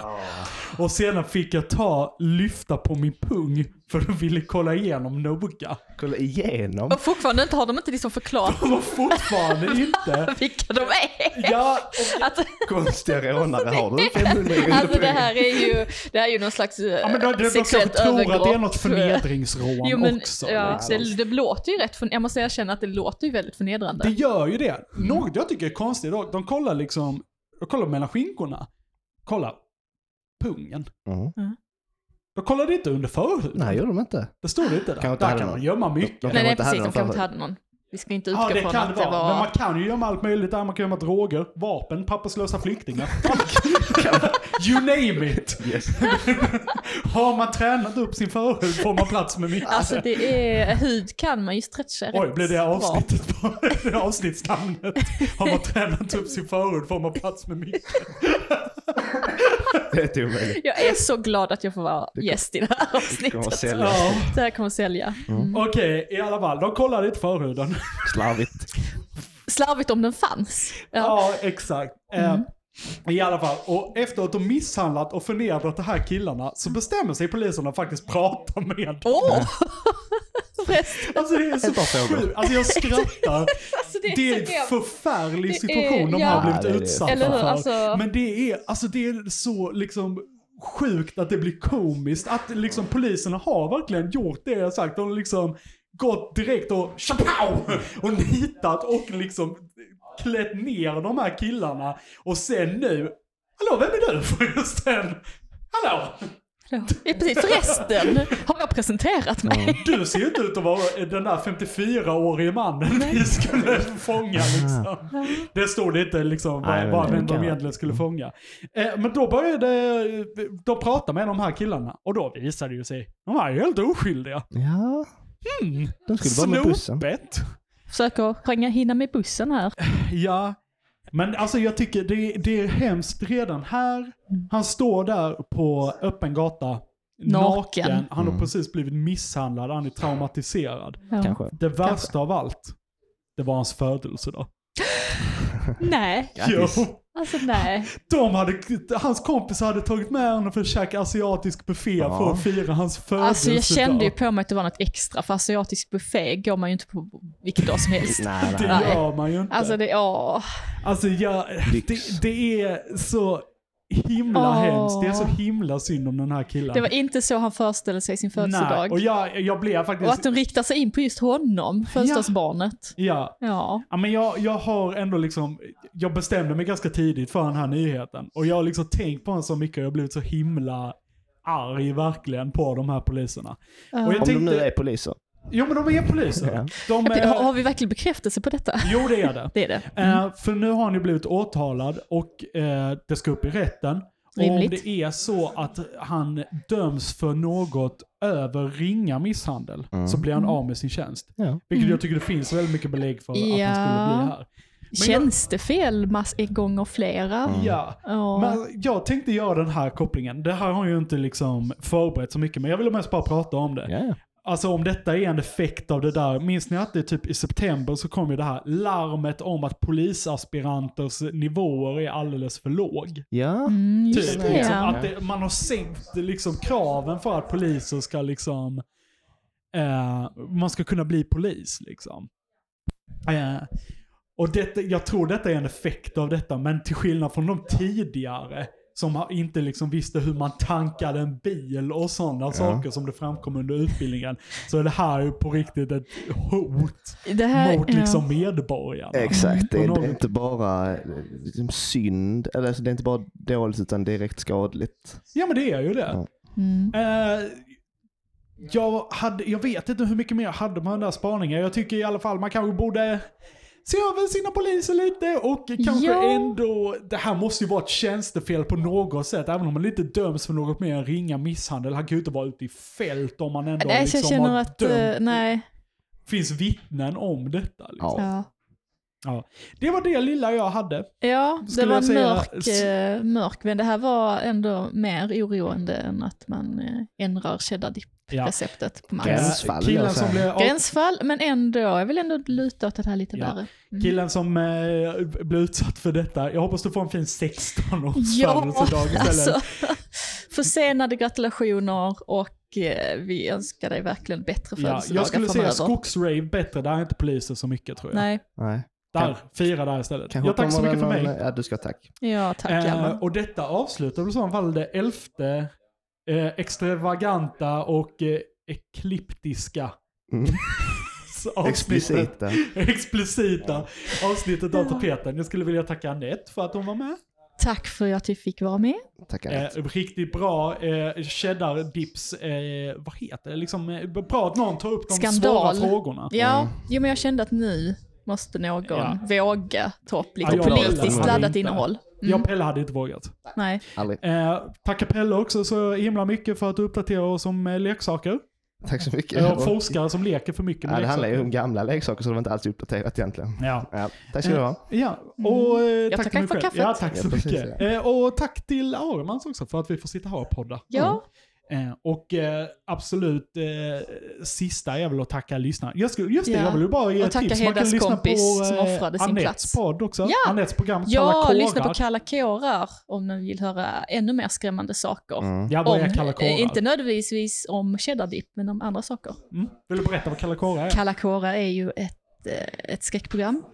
[SPEAKER 3] Och sedan fick jag ta, lyfta på min pung för de ville kolla igenom noga.
[SPEAKER 4] Kolla igenom.
[SPEAKER 2] Och fortfarande inte har de inte liksom förklarat
[SPEAKER 3] De var fortfarande inte...
[SPEAKER 2] vilka de är.
[SPEAKER 3] Ja, och,
[SPEAKER 2] Alltså,
[SPEAKER 4] Konstiga rånare har du 500
[SPEAKER 2] alltså det
[SPEAKER 4] under
[SPEAKER 2] här är ju, det här är ju någon slags eh,
[SPEAKER 3] ja men då, de kanske
[SPEAKER 2] sexuellt
[SPEAKER 3] tror
[SPEAKER 2] övergrepp.
[SPEAKER 3] att det är något förnedringsrån
[SPEAKER 2] Jo, men,
[SPEAKER 3] också.
[SPEAKER 2] ja,
[SPEAKER 3] liksom.
[SPEAKER 2] det, det låter ju rätt, för, jag måste erkänna att det låter ju väldigt förnedrande.
[SPEAKER 3] Det gör ju det. Något jag tycker är konstigt dock, de kollar liksom, de kollar mellan skinkorna. Kolla pungen.
[SPEAKER 4] Mm.
[SPEAKER 3] De kollade inte under förhuden.
[SPEAKER 4] Nej, gör de inte.
[SPEAKER 3] det stod inte där.
[SPEAKER 4] Kan inte
[SPEAKER 3] där
[SPEAKER 4] hade
[SPEAKER 3] kan
[SPEAKER 4] någon.
[SPEAKER 3] man gömma mycket.
[SPEAKER 4] De- de-
[SPEAKER 2] Nej, nej
[SPEAKER 4] inte hade
[SPEAKER 2] precis, de kanske
[SPEAKER 4] någon
[SPEAKER 2] inte
[SPEAKER 4] förhör.
[SPEAKER 2] hade någon. Vi ska inte utgå
[SPEAKER 3] Ja, det
[SPEAKER 2] från
[SPEAKER 3] kan
[SPEAKER 2] att
[SPEAKER 3] det
[SPEAKER 2] det
[SPEAKER 3] vara. Men man
[SPEAKER 2] var...
[SPEAKER 3] kan ju gömma allt möjligt där. Man kan gömma droger, vapen, papperslösa flyktingar. you name it!
[SPEAKER 4] Yes.
[SPEAKER 3] Har man tränat upp sin förhud får man plats med mycket.
[SPEAKER 2] Alltså det är, hud kan man ju stretcha rätt
[SPEAKER 3] Oj, blev det
[SPEAKER 2] bra.
[SPEAKER 3] avsnittet på det avsnittsnamnet? Har man tränat upp sin förhud får man plats med mycket.
[SPEAKER 4] Det är inte omöjligt.
[SPEAKER 2] Jag är så glad att jag får vara gäst i det här
[SPEAKER 4] Kommer att
[SPEAKER 2] avsnittet.
[SPEAKER 4] sälja.
[SPEAKER 3] Ja.
[SPEAKER 2] Det här kommer att sälja.
[SPEAKER 3] Okej, i alla fall. De kollade inte förhuden.
[SPEAKER 4] Slarvigt.
[SPEAKER 2] Slarvigt om den fanns. Ja.
[SPEAKER 3] Ja, exakt. Eh, I alla fall. Och efter att de misshandlat och förnedrat de här killarna så bestämmer sig polisen att faktiskt prata med dem.
[SPEAKER 2] Åh! Förresten,
[SPEAKER 3] Alltså det är så
[SPEAKER 4] par frågor.
[SPEAKER 3] sjukt. Alltså jag skrattar.
[SPEAKER 2] alltså det är,
[SPEAKER 3] Det är
[SPEAKER 2] så
[SPEAKER 3] en
[SPEAKER 2] hemskt.
[SPEAKER 3] förfärlig
[SPEAKER 2] Det är-
[SPEAKER 3] situation de
[SPEAKER 2] ja.
[SPEAKER 3] har
[SPEAKER 4] Ja, det är
[SPEAKER 3] blivit
[SPEAKER 4] det.
[SPEAKER 3] utsatta
[SPEAKER 2] Eller hur?
[SPEAKER 3] för.
[SPEAKER 2] Alltså-
[SPEAKER 3] Men det är, alltså det är så liksom sjukt att det blir komiskt. Att liksom poliserna har verkligen gjort det jag sagt. De har liksom gått direkt och tjapow! Och nitat och liksom klätt ner de här killarna. Och sen nu, hallå vem är du förresten? Hallå!
[SPEAKER 2] Ja, precis. Förresten har jag presenterat mig.
[SPEAKER 3] Du ser ju inte ut att vara den där 54-årige mannen vi skulle fånga liksom. Det stod inte liksom
[SPEAKER 4] Nej,
[SPEAKER 3] vad
[SPEAKER 4] men
[SPEAKER 3] vad
[SPEAKER 4] det
[SPEAKER 3] vem de
[SPEAKER 4] kan- Mm.
[SPEAKER 3] egentligen skulle fånga. Eh, Men då började de prata med de här killarna och då visade det ju sig, de var ju helt oskyldiga.
[SPEAKER 4] Ja.
[SPEAKER 3] Mm.
[SPEAKER 4] De skulle vara med bussen.
[SPEAKER 3] Snopet.
[SPEAKER 2] Försöker hänga hinna med bussen här.
[SPEAKER 3] Ja. Men alltså jag tycker det, det är hemskt redan här. Han står där på öppen gata.
[SPEAKER 2] Naken.
[SPEAKER 3] Han
[SPEAKER 4] Mm.
[SPEAKER 3] har precis blivit misshandlad, han är traumatiserad.
[SPEAKER 2] Ja.
[SPEAKER 4] Kanske.
[SPEAKER 3] Det värsta av allt, det var hans födelsedag.
[SPEAKER 2] Nej,
[SPEAKER 3] Jo,
[SPEAKER 4] Grattis.
[SPEAKER 2] alltså nej.
[SPEAKER 3] de hade, hans kompis hade tagit med honom för att käka asiatisk buffé
[SPEAKER 4] Ja.
[SPEAKER 3] för att fira hans födelsedag.
[SPEAKER 2] Alltså jag kände ju på mig att det var något extra, för asiatisk buffé går man ju inte på vilken dag som helst.
[SPEAKER 4] Nej,
[SPEAKER 3] Det
[SPEAKER 4] nej.
[SPEAKER 3] gör man ju inte.
[SPEAKER 2] Alltså
[SPEAKER 3] Alltså,
[SPEAKER 2] det, åh.
[SPEAKER 3] jag,
[SPEAKER 4] Lyx.
[SPEAKER 3] det, det är så himla
[SPEAKER 2] Åh.
[SPEAKER 3] hemskt. Det är så himla synd om den här killen.
[SPEAKER 2] Det var inte så han föreställde sig sin
[SPEAKER 3] Nej,
[SPEAKER 2] födelsedag.
[SPEAKER 3] och jag, jag blev
[SPEAKER 2] Och
[SPEAKER 3] faktiskt...
[SPEAKER 2] att de riktar sig in på just honom, födelsedagsbarnet.
[SPEAKER 3] Ja,
[SPEAKER 2] Ja.
[SPEAKER 3] Ja, men jag, jag har ändå liksom, jag bestämde mig ganska tidigt för den här nyheten. Och jag har liksom tänkt på den så mycket och jag har blivit så himla arg verkligen på de här poliserna. Och jag
[SPEAKER 4] Om de
[SPEAKER 3] tänkte,
[SPEAKER 4] nu är poliser.
[SPEAKER 3] Jo men de är poliser.
[SPEAKER 4] Ja.
[SPEAKER 3] De
[SPEAKER 2] Ja, Har,
[SPEAKER 3] är,
[SPEAKER 2] har vi verkligen bekräftelse på detta?
[SPEAKER 3] jo det är det.
[SPEAKER 2] Det är det.
[SPEAKER 3] Eh, för nu har han ju blivit åtalad och eh, det ska upp i rätten. Och om
[SPEAKER 2] Rimligt.
[SPEAKER 3] det är så att han döms för något över ringa
[SPEAKER 2] Mm.
[SPEAKER 3] misshandel så blir han av med sin tjänst.
[SPEAKER 4] Mm. Ja.
[SPEAKER 3] Vilket jag tycker det finns väldigt mycket belägg för att han skulle
[SPEAKER 2] Ja.
[SPEAKER 4] Mm.
[SPEAKER 3] bli här.
[SPEAKER 2] Tjänstefel mass- gånger flera.
[SPEAKER 3] Ja.
[SPEAKER 2] Ja.
[SPEAKER 3] Men jag tänkte göra den här kopplingen. Det här har ju inte liksom förberett så mycket, men jag ville mest bara prata om det.
[SPEAKER 4] Ja, ja.
[SPEAKER 3] Alltså om detta är en effekt av det där. Minns ni att det typ i september så kom ju det här larmet om att polisaspiranters nivåer är alldeles för låg.
[SPEAKER 4] Ja.
[SPEAKER 2] mm, Just
[SPEAKER 3] Typ,
[SPEAKER 2] det.
[SPEAKER 3] liksom,
[SPEAKER 2] Ja.
[SPEAKER 3] att det, man har sänkt liksom, kraven för att poliser ska liksom, eh, man ska kunna bli polis liksom. Eh, och detta, jag tror detta är en effekt av detta, men till skillnad från de tidigare som har- inte liksom visste hur man tankade en bil och sådana saker som det framkom under utbildningen. Så är det här ju på riktigt ett hot
[SPEAKER 2] Det här-
[SPEAKER 3] mot
[SPEAKER 2] ja.
[SPEAKER 3] liksom medborgarna.
[SPEAKER 4] Exakt, det,
[SPEAKER 3] Och
[SPEAKER 4] är-
[SPEAKER 3] någon-
[SPEAKER 4] det är inte bara eh, liksom synd, eller alltså, det är inte bara dåligt utan direkt skadligt.
[SPEAKER 3] Ja men det är ju det.
[SPEAKER 2] Mm.
[SPEAKER 3] Eh, jag, hade, jag vet inte hur mycket mer jag hade med den där spaningen. Jag tycker i alla fall man kanske borde se över sina poliser lite och kanske
[SPEAKER 2] Ja.
[SPEAKER 3] ändå, det här måste ju vara ett tjänstefel på något sätt. Även om man inte döms för något mer än ringa misshandel. Han kan ju inte vara ute i fält om man ändå
[SPEAKER 2] Nej, så
[SPEAKER 3] liksom
[SPEAKER 2] alltså, jag känner
[SPEAKER 3] har
[SPEAKER 2] att, eh,
[SPEAKER 3] dömt.
[SPEAKER 2] nej.
[SPEAKER 3] Finns vittnen om detta? Liksom.
[SPEAKER 4] Ja.
[SPEAKER 2] Ja,
[SPEAKER 3] Ja. Det var det lilla jag hade.
[SPEAKER 2] ja det
[SPEAKER 3] Skulle
[SPEAKER 2] var
[SPEAKER 3] jag säga-
[SPEAKER 2] mörk, eh, mörk, men det här var ändå mer oroande än att man eh, ändrar cheddar
[SPEAKER 3] Ja.
[SPEAKER 2] dip-receptet på Max.
[SPEAKER 4] Gränsfall,
[SPEAKER 3] Eh, Killen
[SPEAKER 4] jag säger.
[SPEAKER 3] som blev av-
[SPEAKER 2] Gränsfall, men ändå. Jag vill ändå luta åt att det här är lite
[SPEAKER 3] Ja.
[SPEAKER 2] värre.
[SPEAKER 3] Killen som eh, blev utsatt för detta, jag hoppas du får en fin 16-års
[SPEAKER 2] Ja,
[SPEAKER 3] födelsedag istället.
[SPEAKER 2] alltså. Försenade gratulationer och eh, vi önskar dig verkligen bättre
[SPEAKER 3] ja,
[SPEAKER 2] födelsedagar
[SPEAKER 3] jag skulle säga
[SPEAKER 2] framöver.
[SPEAKER 3] skogsrave bättre, där är inte poliser så mycket tror jag.
[SPEAKER 2] Nej,
[SPEAKER 4] Nej.
[SPEAKER 3] Där, fira där istället.
[SPEAKER 4] Kanske
[SPEAKER 3] ja, tack så
[SPEAKER 4] kommer
[SPEAKER 3] mycket för
[SPEAKER 4] det
[SPEAKER 3] mig.
[SPEAKER 4] någon- Ja, du ska ha tack.
[SPEAKER 2] ja tack
[SPEAKER 3] Eh,
[SPEAKER 2] Hjalmar.
[SPEAKER 3] och detta avslutar väl i så fall det elfte eh, extravaganta och eh, ekliptiska
[SPEAKER 4] Mm.
[SPEAKER 3] avsnittet.
[SPEAKER 4] Explicita.
[SPEAKER 3] Explicita avsnittet av tapeten. Jag skulle vilja tacka Anette för att hon var med.
[SPEAKER 2] Tack för att vi fick vara med.
[SPEAKER 4] Tack Anette.
[SPEAKER 3] Eh, riktigt bra eh, cheddar dips, eh, vad heter det? Liksom, eh, bra att någon tar upp de
[SPEAKER 2] Skandal.
[SPEAKER 3] svåra frågorna.
[SPEAKER 2] Ja, jo, men jag kände att nu måste någon våga ta upp lite
[SPEAKER 3] Ja, jag
[SPEAKER 2] politiskt
[SPEAKER 3] gillar det.
[SPEAKER 2] laddat
[SPEAKER 3] Inte.
[SPEAKER 2] innehåll.
[SPEAKER 3] Jag och Pelle hade inte vågat.
[SPEAKER 2] Nej.
[SPEAKER 4] Aldrig.
[SPEAKER 3] Eh, tacka Pelle också så himla mycket för att du uppdaterar oss om eh, leksaker.
[SPEAKER 4] Tack så mycket.
[SPEAKER 3] Jag forskare som leker för mycket med
[SPEAKER 4] Ja, det handlar ju
[SPEAKER 3] leksaker.
[SPEAKER 4] om gamla leksaker så det var inte alls uppdaterat egentligen.
[SPEAKER 3] Ja.
[SPEAKER 4] Ja, tack
[SPEAKER 3] Eh,
[SPEAKER 4] ska du ha.
[SPEAKER 3] ja, och eh, tack
[SPEAKER 2] tackar
[SPEAKER 3] till mig
[SPEAKER 2] för
[SPEAKER 3] själv.
[SPEAKER 2] kaffet.
[SPEAKER 3] Ja, tack så
[SPEAKER 4] Ja, precis,
[SPEAKER 3] mycket.
[SPEAKER 4] ja.
[SPEAKER 3] Eh, och tack till Armans också för att vi får sitta här och podda.
[SPEAKER 2] Ja,
[SPEAKER 3] Eh, och eh, absolut eh, sista är väl att tacka lyssnarna. Jag skulle, just det,
[SPEAKER 2] Ja.
[SPEAKER 3] jag vill ju bara ge
[SPEAKER 2] Och
[SPEAKER 3] ett
[SPEAKER 2] tacka
[SPEAKER 3] tips. Man kan
[SPEAKER 2] Hedas
[SPEAKER 3] lyssna
[SPEAKER 2] kompis
[SPEAKER 3] på
[SPEAKER 2] som offrade sin
[SPEAKER 3] Anettes
[SPEAKER 2] plats.
[SPEAKER 3] podd också.
[SPEAKER 2] Ja.
[SPEAKER 3] Anettes program Kalla
[SPEAKER 2] ja
[SPEAKER 3] kårar.
[SPEAKER 2] lyssna på Kalla kårar om ni vill höra ännu mer skrämmande saker.
[SPEAKER 4] Mm.
[SPEAKER 3] Ja, vad
[SPEAKER 2] Om,
[SPEAKER 3] är Kalla kårar?
[SPEAKER 2] eh, inte nödvändigtvis om cheddardipp, men om andra saker.
[SPEAKER 3] Mm. Vill du berätta vad Kalla kårar är?
[SPEAKER 2] Kalla kårar är ju ett, eh, ett skräckprogram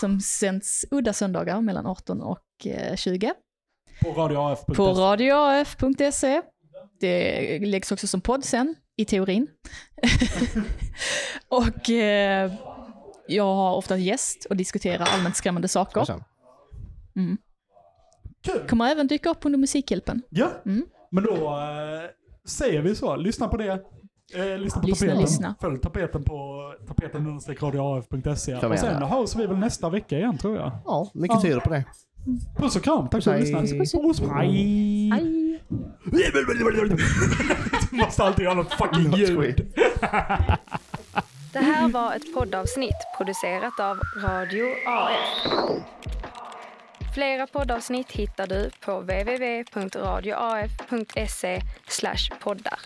[SPEAKER 2] som sänds udda söndagar mellan 18 och eh, 20
[SPEAKER 3] På radioaf.se.
[SPEAKER 2] på radioaf.se. E. Det läggs också som podd sen, i teorin. och eh, jag har ofta gäst och diskuterar allmänt skrämmande saker.
[SPEAKER 4] Sen.
[SPEAKER 3] Kul!
[SPEAKER 2] Kommer även dyka upp under Musikhjälpen.
[SPEAKER 3] Ja,
[SPEAKER 2] Mm.
[SPEAKER 3] men då eh, säger vi så. Lyssna på det. Eh, lyssna på
[SPEAKER 2] Lyssna,
[SPEAKER 3] tapeten.
[SPEAKER 2] lyssna.
[SPEAKER 3] Följ tapeten på tapeten-radioaf.se.
[SPEAKER 4] Kom
[SPEAKER 3] Och
[SPEAKER 4] igen
[SPEAKER 3] sen
[SPEAKER 4] då.
[SPEAKER 3] hörs vi väl nästa vecka igen tror jag.
[SPEAKER 4] Ja, mycket tyder på det.
[SPEAKER 3] Puss och kram. Tack för att du
[SPEAKER 4] Hej.
[SPEAKER 3] lyssnade. Puss, hej! Du måste alltid göra något fucking ljud.
[SPEAKER 1] Det här var ett poddavsnitt producerat av Radio AF. Flera poddavsnitt hittar du på www.radioaf.se E poddar.